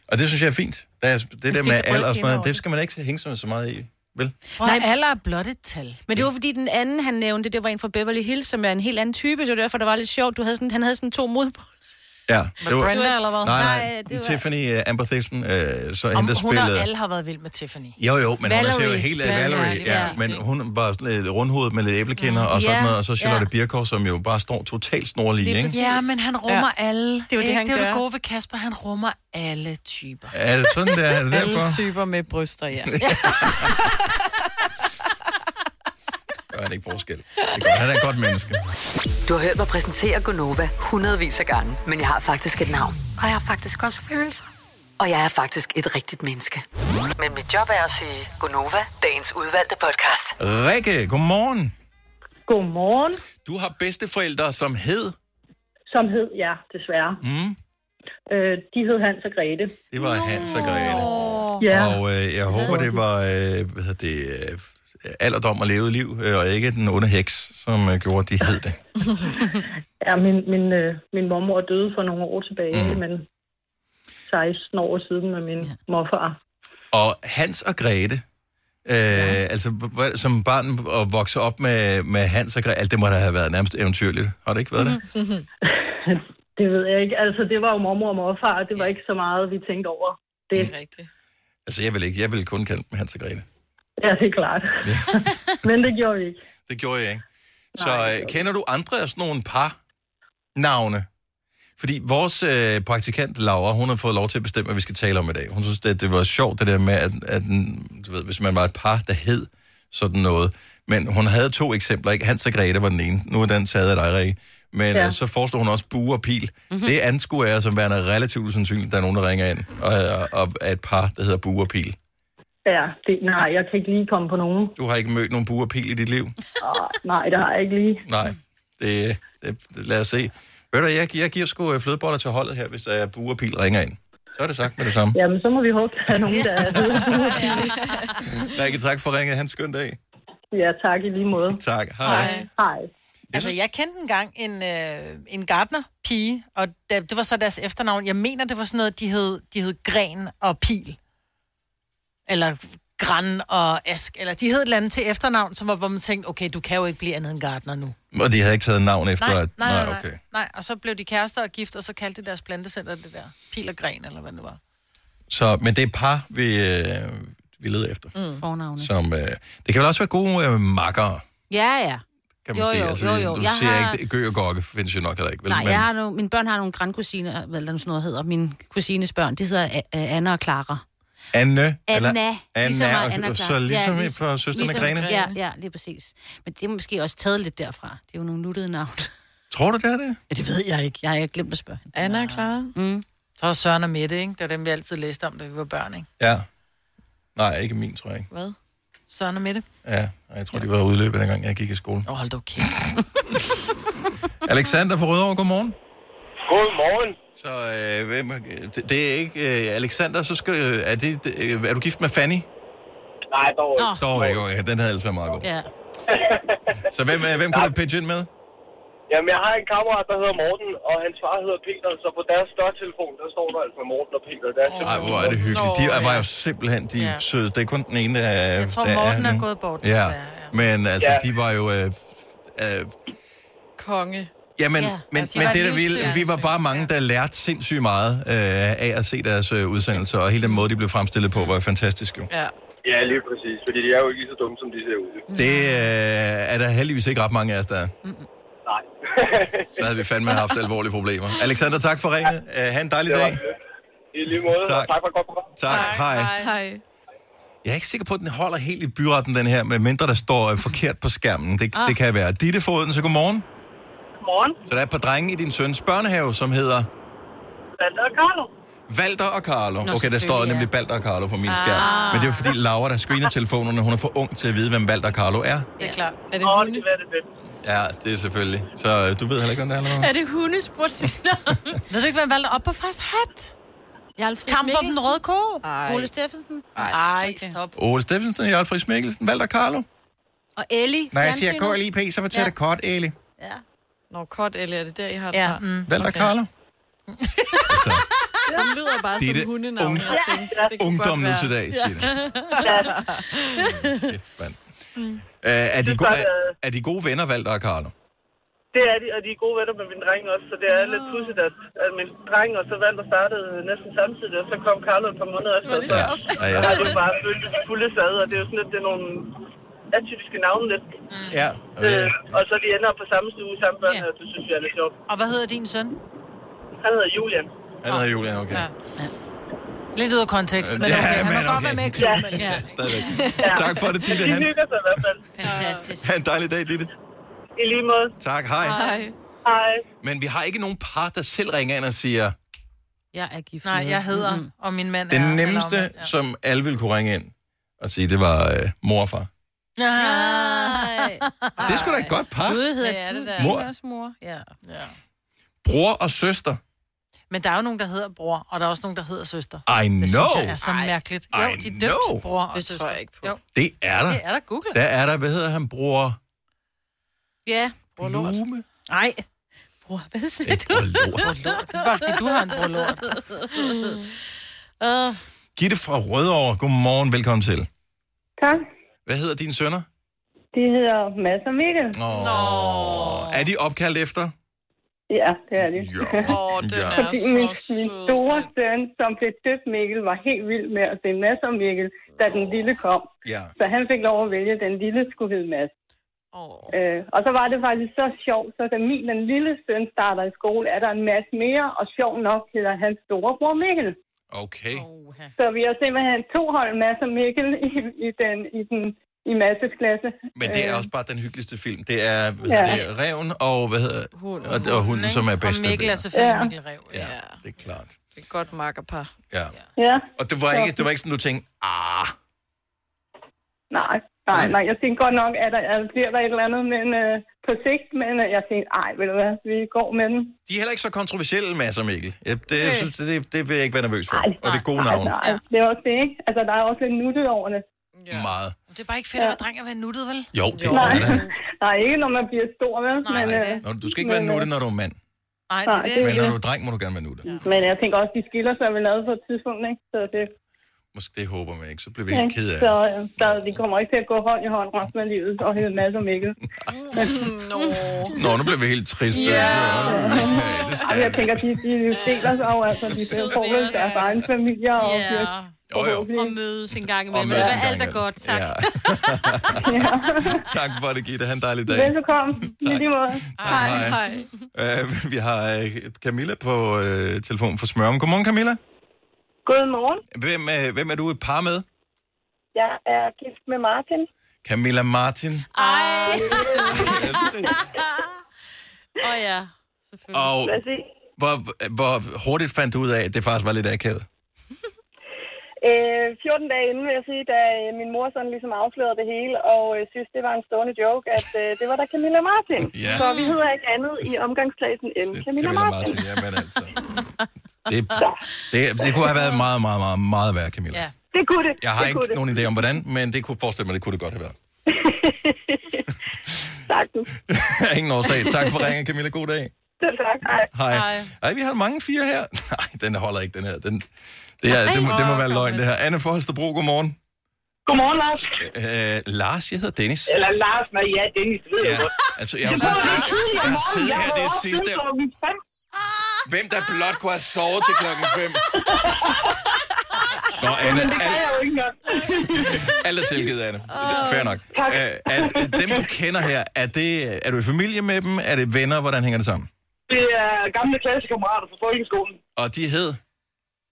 [SPEAKER 1] Og det synes jeg er fint. Der er, det der
[SPEAKER 3] fik
[SPEAKER 1] med
[SPEAKER 3] et
[SPEAKER 1] alder og
[SPEAKER 3] rødkinde
[SPEAKER 1] sådan noget,
[SPEAKER 3] over
[SPEAKER 1] det
[SPEAKER 3] det.
[SPEAKER 1] skal man ikke hænge sig så meget i, vel?
[SPEAKER 3] Nej,
[SPEAKER 2] alder er blot et tal.
[SPEAKER 3] Men det var fordi den anden, han nævnte, det var en fra Beverly Hills, som er en helt anden type, så det var derfor, det var lidt sjovt. Du havde sådan, han havde sådan to modpå.
[SPEAKER 1] Ja.
[SPEAKER 2] Brenda, eller hvad?
[SPEAKER 1] Nej, nej.
[SPEAKER 2] Nej, det var-
[SPEAKER 1] Tiffany uh, Amber Thiessen, øh, så
[SPEAKER 2] Om
[SPEAKER 1] hende, der
[SPEAKER 2] hun og
[SPEAKER 1] spillede...
[SPEAKER 2] alle har været vild med Tiffany.
[SPEAKER 1] Jo, jo, men Valerie, hun er jo
[SPEAKER 2] Valerie's
[SPEAKER 1] helt øh,
[SPEAKER 2] Valerie,
[SPEAKER 1] Valerie,
[SPEAKER 2] lige
[SPEAKER 1] ja,
[SPEAKER 2] præcis, Mm.
[SPEAKER 1] men hun var sådan lidt rundhovedet med lidt æblekinder og sådan
[SPEAKER 2] Ja,
[SPEAKER 1] noget, og så Charlotte
[SPEAKER 2] ja.
[SPEAKER 1] Birkow, som jo bare står totalt snorlig, ikke?
[SPEAKER 2] Ja, men han rummer ja. alle.
[SPEAKER 5] Det er jo det,
[SPEAKER 2] ikke?
[SPEAKER 5] han
[SPEAKER 2] det er jo
[SPEAKER 5] gør.
[SPEAKER 2] det gode ved Kasper, han rummer alle typer.
[SPEAKER 1] Er det sådan, det er? Er det derfor?
[SPEAKER 5] Alle typer med bryster, ja.
[SPEAKER 1] han ikke forskel. Det er godt. Han er et godt menneske.
[SPEAKER 7] Du har hørt mig præsentere Gonova hundredvis af gange, men jeg har faktisk et navn.
[SPEAKER 6] Og jeg har faktisk også følelser.
[SPEAKER 7] Og jeg er faktisk et rigtigt menneske. Men mit job er at sige Gonova, dagens udvalgte podcast.
[SPEAKER 1] Rikke, godmorgen.
[SPEAKER 9] Godmorgen.
[SPEAKER 1] Du har bedsteforældre, som hed...
[SPEAKER 9] Som hed, ja, desværre.
[SPEAKER 1] Mm.
[SPEAKER 9] Øh, de hed Hans og Grete.
[SPEAKER 1] Det var Hans og Grete.
[SPEAKER 9] Ja.
[SPEAKER 1] Og øh, jeg håber, det var øh, hvad hedder det, øh, alderdom og levet liv, øh, og ikke den onde heks, som øh, gjorde, at de hed det.
[SPEAKER 9] ja, min, min, øh, min mormor døde for nogle år tilbage, mm. men 16 år siden med min morfar.
[SPEAKER 1] Og Hans og Grete, øh, ja. altså hva- som barn og vokse op med, med Hans og Grete, altså, det må da have været nærmest eventyrligt. Har det ikke været
[SPEAKER 9] Mhm.
[SPEAKER 1] det?
[SPEAKER 9] det ved jeg ikke. Altså, det var jo mormor og morfar, og det var ikke så meget, vi tænkte over. Det, det er rigtigt.
[SPEAKER 1] Altså jeg vil ikke, jeg vil kun kalde dem Hans og Grete.
[SPEAKER 9] Ja, det er klart.
[SPEAKER 1] Ja.
[SPEAKER 9] men det gjorde vi ikke.
[SPEAKER 1] Det gjorde jeg ikke. Så øh, kender du andre af sådan nogle par navne? Fordi vores øh, praktikant Laura, hun har fået lov til at bestemme, hvad vi skal tale om i dag. Hun synes, det, det var sjovt, det der med, at, at den- du ved, hvis man var et par, der hed sådan noget. Men hun havde to eksempler, ikke? Hans og Grete var den ene. Nu er den taget af dig, Rikke. Men ja.
[SPEAKER 11] Ja.
[SPEAKER 1] øh, så foreslog hun også bue og pil. Mm-hmm. Det anskuer jeg som værende relativt usandsynligt, at der er nogen, der ringer ind og, og, og er et par, der hedder bue og pil.
[SPEAKER 9] Ja, det, nej, jeg kan ikke lige komme på nogen.
[SPEAKER 1] Du har ikke mødt nogen bue og pil i dit liv?
[SPEAKER 9] Åh, nej, det har jeg ikke lige.
[SPEAKER 1] Nej, det, det, lad os se. Ved du, jeg, jeg giver sgu øh, flødeboller til holdet her, hvis der er bue og pil ringer ind. Så er det sagt med det samme.
[SPEAKER 9] Jamen, så må vi håbe, at der er nogen, der er ved.
[SPEAKER 1] *laughs* Rikke, tak for ringet. Han skøn dag.
[SPEAKER 9] Ja, tak i lige måde.
[SPEAKER 1] Tak. Hej. Hej.
[SPEAKER 9] Hej.
[SPEAKER 2] Altså, jeg kendte engang en, øh, en gardner-pige, og da, det var så deres efternavn. Jeg mener, det var sådan noget, de hed, de hed Gren og Pil. Eller Gran og Ask. Eller de hed et eller andet til efternavn, som var, hvor man tænkte, okay, du kan jo ikke blive andet end gardner nu.
[SPEAKER 1] Og de havde ikke taget navn efter,
[SPEAKER 2] nej,
[SPEAKER 1] at...
[SPEAKER 2] nej, nej, nej,
[SPEAKER 1] okay.
[SPEAKER 2] nej, og så blev de kærester og gift, og så kaldte de deres plantecenter det der Pil og Gren, eller hvad det var.
[SPEAKER 1] Så, men det er par, vi, øh, vi leder efter.
[SPEAKER 3] Mm. Fornavne.
[SPEAKER 1] Som, øh, det kan vel også være gode øh, makkere,
[SPEAKER 3] Ja, ja.
[SPEAKER 1] kan man
[SPEAKER 3] Jo,
[SPEAKER 1] sige. Altså,
[SPEAKER 3] jo, jo, jo.
[SPEAKER 1] Du
[SPEAKER 3] Jeg
[SPEAKER 1] siger
[SPEAKER 3] har-
[SPEAKER 1] ikke, det- gø og gokke findes jo nok heller ikke. Vel?
[SPEAKER 3] Nej,
[SPEAKER 1] men,
[SPEAKER 3] jeg har nogle, mine børn har nogle grandkusiner, hvad der nu sådan noget hedder, mine kusines børn, de hedder A- A- Anna og Clara.
[SPEAKER 1] Anne,
[SPEAKER 3] Anna,
[SPEAKER 1] eller, Anna,
[SPEAKER 3] ligesom mig,
[SPEAKER 1] og-
[SPEAKER 3] Anna
[SPEAKER 1] og,
[SPEAKER 3] Clara.
[SPEAKER 1] så ligesom ja,
[SPEAKER 3] lig-
[SPEAKER 1] for søsterne ligesom, Grene.
[SPEAKER 3] Ja, ja, lige præcis. Men det er måske også taget lidt derfra. Det er jo nogle nuttede navn.
[SPEAKER 1] Tror du, det er det?
[SPEAKER 3] Ja, det ved jeg ikke. Jeg har glemt at spørge hende.
[SPEAKER 2] Anna og Clara.
[SPEAKER 3] Mm.
[SPEAKER 2] Så er der Søren og Mette, ikke? Det var dem, vi altid læste om, da vi var børn, ikke?
[SPEAKER 1] Ja. Nej, ikke min, tror jeg ikke.
[SPEAKER 2] Hvad? Søren og Mette.
[SPEAKER 1] Ja, og jeg tror, de var udløbet, dengang jeg gik i skole.
[SPEAKER 2] Åh, oh, hold da kæft.
[SPEAKER 1] Alexander fra Rødovre, godmorgen.
[SPEAKER 12] Godmorgen.
[SPEAKER 1] Så øh, hvem, det, det er ikke... Øh, Alexander, så skal, øh, er, det, det- øh, er du gift med Fanny?
[SPEAKER 12] Nej, dog
[SPEAKER 1] ikke. Dog ikke, okay. Den havde ellers været meget god.
[SPEAKER 3] Ja.
[SPEAKER 1] Så hvem, øh, hvem kunne du pitche ind med?
[SPEAKER 12] Jamen, jeg har en kammerat, der hedder Morten, og hans far hedder Peter, så på deres dørtelefon, der står der altså Morten og Peter. Der oh.
[SPEAKER 1] Ej, hvor er det hyggeligt. De er, var jo simpelthen de
[SPEAKER 12] Ja.
[SPEAKER 1] ja. søde. Det er kun den ene, der er...
[SPEAKER 12] Jeg tror,
[SPEAKER 1] der
[SPEAKER 12] Morten er
[SPEAKER 1] nu.
[SPEAKER 12] gået bort,
[SPEAKER 1] Ja.
[SPEAKER 12] desværre,
[SPEAKER 1] men altså,
[SPEAKER 12] Ja.
[SPEAKER 1] de var jo... Øh, øh,
[SPEAKER 5] Konge.
[SPEAKER 1] Jamen, ja,
[SPEAKER 5] Ja.
[SPEAKER 1] men,
[SPEAKER 5] Altså,
[SPEAKER 1] men
[SPEAKER 5] de var
[SPEAKER 1] det der ville, vi var bare mange, der lærte sindssygt meget øh, af at se deres øh, udsendelser, og hele den måde, de blev fremstillet på, var jo fantastisk jo.
[SPEAKER 5] Ja.
[SPEAKER 12] ja, lige præcis, fordi de er jo ikke lige så dumme, som de ser ud.
[SPEAKER 1] Det øh, er der heldigvis ikke ret mange af os, der er.
[SPEAKER 12] Nej.
[SPEAKER 1] Så havde vi fandme haft alvorlige problemer. Alexander, tak for ringet. Uh, ha' en dejlig dag.
[SPEAKER 12] I lige måde, tak. og tak for et godt program.
[SPEAKER 1] Tak. Hej.
[SPEAKER 5] Hej.
[SPEAKER 1] Jeg er ikke sikker på, at den holder helt i byretten, den her, medmindre der står øh, forkert på skærmen. Det,
[SPEAKER 12] Ah.
[SPEAKER 1] det kan være. Ditte fra Odense, godmorgen.
[SPEAKER 12] Godmorgen.
[SPEAKER 1] Så der er et par drenge i din søns børnehave, som hedder
[SPEAKER 12] Valter og Carlo.
[SPEAKER 1] Valter og Carlo.
[SPEAKER 12] Nå,
[SPEAKER 1] okay, der står
[SPEAKER 12] selvfølgelig, ja. Ah.
[SPEAKER 1] nemlig Valter og Carlo på min skærm. Men det er jo fordi Laura, der screener telefonerne, hun er for ung til at vide, hvem Valter og Carlo er.
[SPEAKER 5] Det er klart. Er det
[SPEAKER 12] Åh,
[SPEAKER 5] hunde?
[SPEAKER 12] det var det fedt.
[SPEAKER 1] Ja, det er selvfølgelig. Så øh, du ved heller ikke, hvem det er, eller hvad?
[SPEAKER 5] Er det hundespurt
[SPEAKER 2] Ved du ikke, hvem valgte op på fars hat?
[SPEAKER 3] Jeg er Alfred
[SPEAKER 2] Kamp om den
[SPEAKER 3] Mikkelsen.
[SPEAKER 2] røde ko.
[SPEAKER 3] Ole Steffensen.
[SPEAKER 2] Ej, stop.
[SPEAKER 1] Ole Steffensen, Jolfrid Mikkelsen, Valter og Carlo.
[SPEAKER 3] Og Ellie.
[SPEAKER 1] Når jeg siger
[SPEAKER 5] fjernsynet.
[SPEAKER 1] KLIP, så betyder
[SPEAKER 5] Ja.
[SPEAKER 1] det kort, Eli.
[SPEAKER 3] Ja.
[SPEAKER 5] Nå, kort, eller er det der, I har det
[SPEAKER 2] Ja,
[SPEAKER 5] fra?
[SPEAKER 2] mm.
[SPEAKER 1] Valter og Carlo.
[SPEAKER 5] Den lyder bare
[SPEAKER 1] Det er
[SPEAKER 5] som
[SPEAKER 1] det
[SPEAKER 5] hundenavn.
[SPEAKER 1] ung-
[SPEAKER 5] jeg tænkte, det kunne
[SPEAKER 1] ungdom
[SPEAKER 5] godt
[SPEAKER 1] nu
[SPEAKER 5] være.
[SPEAKER 1] til dags, Stine.
[SPEAKER 5] Ja.
[SPEAKER 24] Mm.
[SPEAKER 1] Øh, er, de
[SPEAKER 12] Det er
[SPEAKER 1] gode,
[SPEAKER 12] godt,
[SPEAKER 1] er, er de gode venner, Valter og Carlo?
[SPEAKER 12] Det er de, og de er gode venner med min dreng også, så det er lidt pudsigt, at, at min dreng og så Valter startede øh, næsten samtidig, og så kom Carlo et par måneder efter, så
[SPEAKER 1] Ja, ja.
[SPEAKER 12] har det bare følt de fulde sad, og det er jo sådan lidt, det er nogle atypiske navne lidt.
[SPEAKER 1] Ja.
[SPEAKER 12] Øh, og så de ender på samme stue, samme børn, og det synes jeg er lidt sjovt.
[SPEAKER 2] Og hvad hedder din søn?
[SPEAKER 12] Han hedder Julian.
[SPEAKER 1] Han hedder Julian, okay. Ja.
[SPEAKER 2] Lidt ud af kontekst, men
[SPEAKER 1] Øh, Ja,
[SPEAKER 2] okay, han må
[SPEAKER 1] men
[SPEAKER 2] godt
[SPEAKER 1] okay.
[SPEAKER 2] være med i klubben. Ja.
[SPEAKER 1] Stadigvæk. Tak for det, Ditte.
[SPEAKER 24] De
[SPEAKER 1] Han.
[SPEAKER 24] hygger sig i hvert fald.
[SPEAKER 3] Fantastisk.
[SPEAKER 1] Ha' en dejlig dag, Ditte.
[SPEAKER 24] I lige måde.
[SPEAKER 1] Tak, hej.
[SPEAKER 24] Hej.
[SPEAKER 1] Men vi har ikke nogen par, der selv ringer ind og siger,
[SPEAKER 3] Jeg er gift
[SPEAKER 2] Nej,
[SPEAKER 3] nu.
[SPEAKER 2] jeg hedder, mm-hmm. og min mand er...
[SPEAKER 1] det
[SPEAKER 2] eller
[SPEAKER 1] nemmeste,
[SPEAKER 2] omvendt.
[SPEAKER 1] ja. som alle ville kunne ringe ind og sige, det var øh, mor og far.
[SPEAKER 2] Nej.
[SPEAKER 1] Det er sgu da et godt par.
[SPEAKER 2] Ah. Gud hedder
[SPEAKER 3] Ja,
[SPEAKER 2] du
[SPEAKER 3] det
[SPEAKER 1] da. Mor.
[SPEAKER 2] din også mor. Ja. ja.
[SPEAKER 1] Bror og søster.
[SPEAKER 2] Men der er jo nogen, der hedder bror, og der er også nogen, der hedder søster.
[SPEAKER 1] I
[SPEAKER 2] Det
[SPEAKER 1] know.
[SPEAKER 2] synes jeg er så mærkeligt. Jo,
[SPEAKER 1] I
[SPEAKER 2] de er
[SPEAKER 1] know.
[SPEAKER 2] dømt bror og søster. Det tror jeg ikke på.
[SPEAKER 1] *laughs*
[SPEAKER 2] Jo.
[SPEAKER 1] Det er der.
[SPEAKER 2] Det er der, Google.
[SPEAKER 1] Der er der, hvad hedder han, bror?
[SPEAKER 3] Ja.
[SPEAKER 1] Bror Lort. *laughs* Blume.
[SPEAKER 3] Nej. Bror, hvad siger du?
[SPEAKER 2] Bare fordi du har en bror lort.
[SPEAKER 3] Uh,
[SPEAKER 1] Gitte fra Rødovre. Godmorgen, velkommen til.
[SPEAKER 18] Tak.
[SPEAKER 1] Hvad hedder dine sønner?
[SPEAKER 18] De hedder Mads og Mikkel.
[SPEAKER 1] Åh. Er de opkaldt efter?
[SPEAKER 18] Ja, det er de. *laughs*
[SPEAKER 1] Åh, den er
[SPEAKER 18] Fordi
[SPEAKER 1] så
[SPEAKER 18] min, min store søn, som blev døbt Mikkel, var helt vild med at se Mads og Mikkel, da den lille kom.
[SPEAKER 1] Ja.
[SPEAKER 18] Så han fik lov at vælge, at den lille skulle hedde Mads. Øh, og så var det faktisk så sjovt, så da min den lille søn starter i skole, er der en masse mere, og sjov nok hedder hans storebror Mikkel.
[SPEAKER 1] Okay.
[SPEAKER 18] Så vi har simpelthen to hold Mads og Mikkel i, i, den, i, den, i Mads' klasse.
[SPEAKER 1] Men det er også bare den hyggeligste film. Det er, hvad
[SPEAKER 18] Ja.
[SPEAKER 1] hedder det, Reven og, hvad hedder, og, og hunden, som er bedste venner.
[SPEAKER 5] selvfølgelig
[SPEAKER 18] Mikkel
[SPEAKER 2] Rev.
[SPEAKER 1] Ja, det er klart.
[SPEAKER 5] Det er et godt makkerpar.
[SPEAKER 1] Ja.
[SPEAKER 18] Ja.
[SPEAKER 1] Og det var,
[SPEAKER 18] Så-
[SPEAKER 1] ikke, det var ikke sådan, du tænkte, ah,
[SPEAKER 18] Nej, nej, nej. Jeg tænkte godt nok, at der at bliver der et eller andet men, øh, på sigt, men øh, jeg tænkte, ej, ved du hvad, vi går med den.
[SPEAKER 1] de er heller ikke så kontroversielle, Mads og Mikkel. Ja, det, jeg synes, det, det vil jeg ikke være nervøs for. og det er gode navne.
[SPEAKER 18] Nej, det er også det, ikke? Altså, der er også lidt nuttet over det.
[SPEAKER 1] Ja. Meget.
[SPEAKER 2] Det er bare ikke fedt at være dreng og være nuttet, vel?
[SPEAKER 1] Jo, det
[SPEAKER 18] Jo.
[SPEAKER 1] er det.
[SPEAKER 18] Nej, ikke når man bliver stor, vel? Nej, men, øh,
[SPEAKER 1] Nå, du skal ikke være nutte, når du er mand.
[SPEAKER 2] Nej,
[SPEAKER 18] det er det.
[SPEAKER 1] Men når du er dreng, må du gerne være nutte.
[SPEAKER 18] Men jeg tænker også, de skiller sig vel ad på et tidspunkt, ikke? Så det,
[SPEAKER 1] Måske det håber man ikke, så bliver vi helt ked af
[SPEAKER 18] Så øh,
[SPEAKER 1] det.
[SPEAKER 18] der, de kommer ikke til at gå hånd i hånd resten af livet og hedde masser om
[SPEAKER 1] *laughs*
[SPEAKER 18] ikke.
[SPEAKER 2] *laughs*
[SPEAKER 5] Nå.
[SPEAKER 1] Nå, nu bliver vi helt triste.
[SPEAKER 18] Ja.
[SPEAKER 1] Ja, det
[SPEAKER 18] Jamen, jeg tænker, de, de deler sig jo, altså, de får vel deres egen familie og
[SPEAKER 3] Ja.
[SPEAKER 18] bliver
[SPEAKER 1] Jo, jo.
[SPEAKER 3] og mødes en gang
[SPEAKER 1] Og
[SPEAKER 3] imellem.
[SPEAKER 1] mødes
[SPEAKER 3] Det
[SPEAKER 1] en
[SPEAKER 3] er alt
[SPEAKER 1] gang
[SPEAKER 3] er godt, tak.
[SPEAKER 1] Ja. *laughs* tak for det, Gitte. Ha' en dejlig dag.
[SPEAKER 18] Velbekomme. I lige måde.
[SPEAKER 1] Hej. Hej. Uh, vi har øh, Camilla på øh, telefon fra Smørum. Godmorgen, Camilla.
[SPEAKER 18] Godmorgen.
[SPEAKER 1] Hvem, øh, hvem er du et par med?
[SPEAKER 18] Jeg er gift med Martin.
[SPEAKER 1] Camilla
[SPEAKER 18] Ah.
[SPEAKER 1] Martin.
[SPEAKER 18] Ej,
[SPEAKER 3] Åh oh, ja, selvfølgelig.
[SPEAKER 1] Og hvor, hvor hurtigt fandt du ud af, at det faktisk var lidt akavet?
[SPEAKER 18] Øh, 14 dage inden, vil jeg sige, da øh, min mor sådan ligesom afslørede det hele, og øh, synes, det var en stående joke, at øh, det var da Camilla Martin.
[SPEAKER 1] Ja.
[SPEAKER 18] Så vi hedder ikke andet i omgangskredsen end Camilla,
[SPEAKER 1] Camilla
[SPEAKER 18] Martin.
[SPEAKER 1] Martin. Jamen altså. Det, det, det kunne have været meget, meget, meget, meget værre, Camilla.
[SPEAKER 18] Ja. Det kunne det.
[SPEAKER 1] Jeg har
[SPEAKER 18] det
[SPEAKER 1] ikke
[SPEAKER 18] kunne
[SPEAKER 1] nogen idé om, hvordan, men det kunne forestille mig, det kunne det godt have
[SPEAKER 18] *laughs*
[SPEAKER 1] været. tak. *laughs* Ingen årsag. Tak for ringen, Camilla. God dag.
[SPEAKER 18] Det, tak. Hej.
[SPEAKER 1] Hej. Hej. Ej, vi har mange fire her. *laughs* Nej, den holder ikke, den her. Den, det, er, det, må, det må være løgn, det her. Anne Forholsterbro, godmorgen.
[SPEAKER 12] Godmorgen, Lars.
[SPEAKER 1] Øh, Lars, jeg hedder Dennis.
[SPEAKER 12] Eller Lars, nej, ja, Dennis, det ved
[SPEAKER 1] Ja,
[SPEAKER 12] jeg godt.
[SPEAKER 1] altså, jeg, jeg,
[SPEAKER 12] Jeg tror, det er tidligere
[SPEAKER 1] jeg,
[SPEAKER 12] morgen.
[SPEAKER 1] sidder
[SPEAKER 12] Jeg
[SPEAKER 1] her
[SPEAKER 12] var
[SPEAKER 1] det
[SPEAKER 12] også
[SPEAKER 1] sidste.
[SPEAKER 12] tidligere
[SPEAKER 1] Hvem der blot kunne have sovet til klokken 5? Nå, Anne,
[SPEAKER 12] Men det gør
[SPEAKER 1] alt,
[SPEAKER 12] jeg jo ikke engang.
[SPEAKER 1] *laughs* alt er tilgivet, Anne. Fair nok.
[SPEAKER 12] Tak.
[SPEAKER 1] Øh, er, dem, du kender her, er, det, er du i familie med dem? Er det venner? Hvordan hænger det sammen?
[SPEAKER 12] Det er gamle klassekammerater fra folkeskolen.
[SPEAKER 1] Og de hed?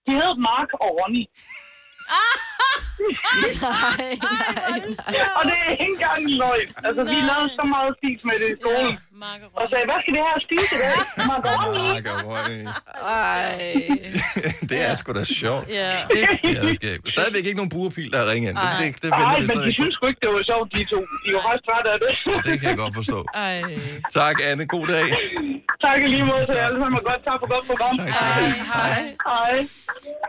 [SPEAKER 12] De hed Mark og Ronny.
[SPEAKER 5] *laughs* nej, nej, nej.
[SPEAKER 12] Og det er ikke engang en løgn. Altså, vi lavede så meget spis med det i skolen. og sagde, hvad skal det her spise i dag? Mark og Ronny.
[SPEAKER 1] Mark og Ronny.
[SPEAKER 12] Ej.
[SPEAKER 1] *laughs* Det er sgu da sjovt.
[SPEAKER 12] Ja.
[SPEAKER 1] Faderskab. Stadigvæk ikke nogen burpil, der ringer ind. Det, det, det
[SPEAKER 12] Nej,
[SPEAKER 1] venter vi
[SPEAKER 12] men de
[SPEAKER 1] stadig
[SPEAKER 12] synes sgu ikke, det var sjovt, de to. De var faktisk trætte af det.
[SPEAKER 1] på. Det kan jeg godt forstå.
[SPEAKER 12] Ej.
[SPEAKER 1] Tak, Anne. God dag.
[SPEAKER 12] *laughs* Tak i lige måde til jer alle sammen, og godt tak for godt program. Hej, hej. Hej.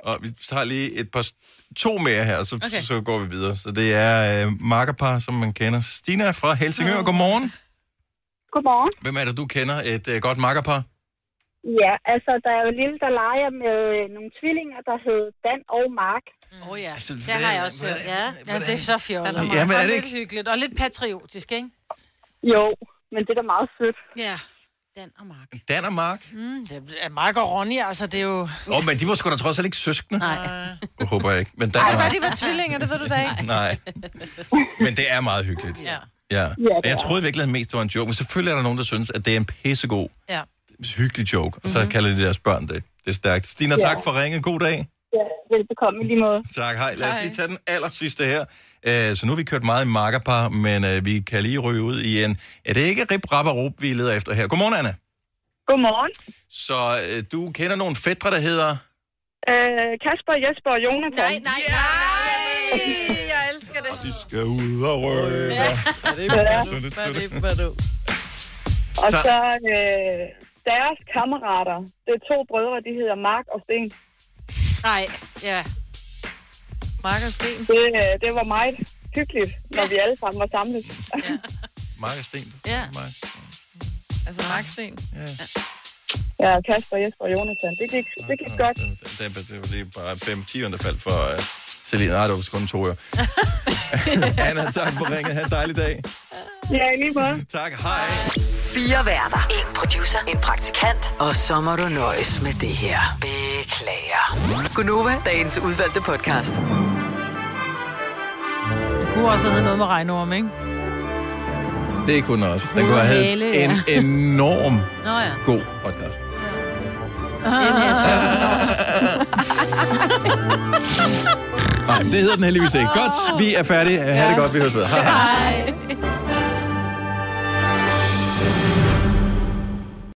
[SPEAKER 1] Og vi tager lige et par, to mere her, og så,
[SPEAKER 12] Okay.
[SPEAKER 1] okay. så går vi videre. Så det er øh, makkerpar, som man kender. Stina fra Helsingør, godmorgen.
[SPEAKER 18] Godmorgen.
[SPEAKER 1] Hvem er det, du kender? Et øh, godt makkerpar?
[SPEAKER 18] Ja, altså, der er jo lille, der leger med øh, nogle tvillinger, der hedder Dan og Mark.
[SPEAKER 2] Åh oh, ja,
[SPEAKER 1] altså,
[SPEAKER 2] det har jeg også hørt. Ja, ja det er så fjollet.
[SPEAKER 18] Ja, men er
[SPEAKER 2] og
[SPEAKER 18] det
[SPEAKER 2] lidt
[SPEAKER 18] ikke-
[SPEAKER 2] hyggeligt, og lidt patriotisk, ikke?
[SPEAKER 18] Jo, men det er da meget sødt.
[SPEAKER 2] Ja.
[SPEAKER 1] Dan og Mark?
[SPEAKER 2] Mm, det er Mark og Ronny, altså det er jo...
[SPEAKER 1] Åh, oh, men de var sgu da trods alt ikke søskende.
[SPEAKER 2] Nej.
[SPEAKER 1] Det håber jeg ikke. Men Dan
[SPEAKER 2] Ej,
[SPEAKER 1] og
[SPEAKER 2] hvad
[SPEAKER 1] Mark.
[SPEAKER 2] de var tvillinger, det ved du da ikke.
[SPEAKER 1] *laughs* Nej. Men det er meget hyggeligt.
[SPEAKER 2] Ja.
[SPEAKER 1] Ja.
[SPEAKER 18] det
[SPEAKER 1] Og jeg
[SPEAKER 18] er.
[SPEAKER 1] troede virkelig, at det mest var en joke, men selvfølgelig er der nogen, der synes, at det er en pissegod,
[SPEAKER 2] Ja. Mhm.
[SPEAKER 1] hyggelig joke, og så kalder de deres børn det. Det er stærkt. Stina, tak for ringet. God dag.
[SPEAKER 18] Ja, Velbekomme i lige måde.
[SPEAKER 1] Tak, hej. Lad os lige tage den aller sidste her. Øh, Så nu har vi kørt meget i makkerpar, men øh, vi kan lige ryge ud i en... Er det ikke rip, rap og rup, vi leder efter her? Godmorgen, Anna.
[SPEAKER 18] Godmorgen.
[SPEAKER 1] Så øh, du kender nogle fædre, der hedder...
[SPEAKER 18] Øh, Kasper, Jesper og Jonathan. Nej, nej, nej.
[SPEAKER 5] Jeg elsker det.
[SPEAKER 1] De skal ud og røve. Ja.
[SPEAKER 18] Og
[SPEAKER 1] Så-
[SPEAKER 18] så øh, deres kammerater. Det er to brødre, de hedder Mark og Sten. Nej, ja.
[SPEAKER 5] Mark og Sten.
[SPEAKER 18] Det, øh, det var meget hyggeligt, når vi alle sammen var samlet.
[SPEAKER 1] Mark og Sten.
[SPEAKER 18] Ja.
[SPEAKER 1] Mark.
[SPEAKER 5] Altså Marksten.
[SPEAKER 1] Ja.
[SPEAKER 18] ja, Kasper, Jesper og Jonathan. Det gik, det gik godt.
[SPEAKER 1] Det, det, det, det er bare 5 10 der faldt for uh, Selina. Nej, det var vist kun to, jo. Anna, tak for ringet. Ha' en dejlig dag.
[SPEAKER 18] Ja, i lige måde.
[SPEAKER 1] Tak, hej.
[SPEAKER 7] Fire værter. En producer. En praktikant. Og så må du nøjes med det her. Beklager. Gunova, dagens udvalgte podcast.
[SPEAKER 2] Det kunne også have noget med regnorm, ikke?
[SPEAKER 1] Det kunne den også. Den kunne have
[SPEAKER 2] Hele,
[SPEAKER 1] heddet
[SPEAKER 2] ja.
[SPEAKER 1] en enorm
[SPEAKER 2] Nå ja.
[SPEAKER 1] god podcast. Nej, men det hedder den heldigvis ikke. Godt, vi er færdige. Ha' det godt, vi høres ved. Hej.
[SPEAKER 12] Hej.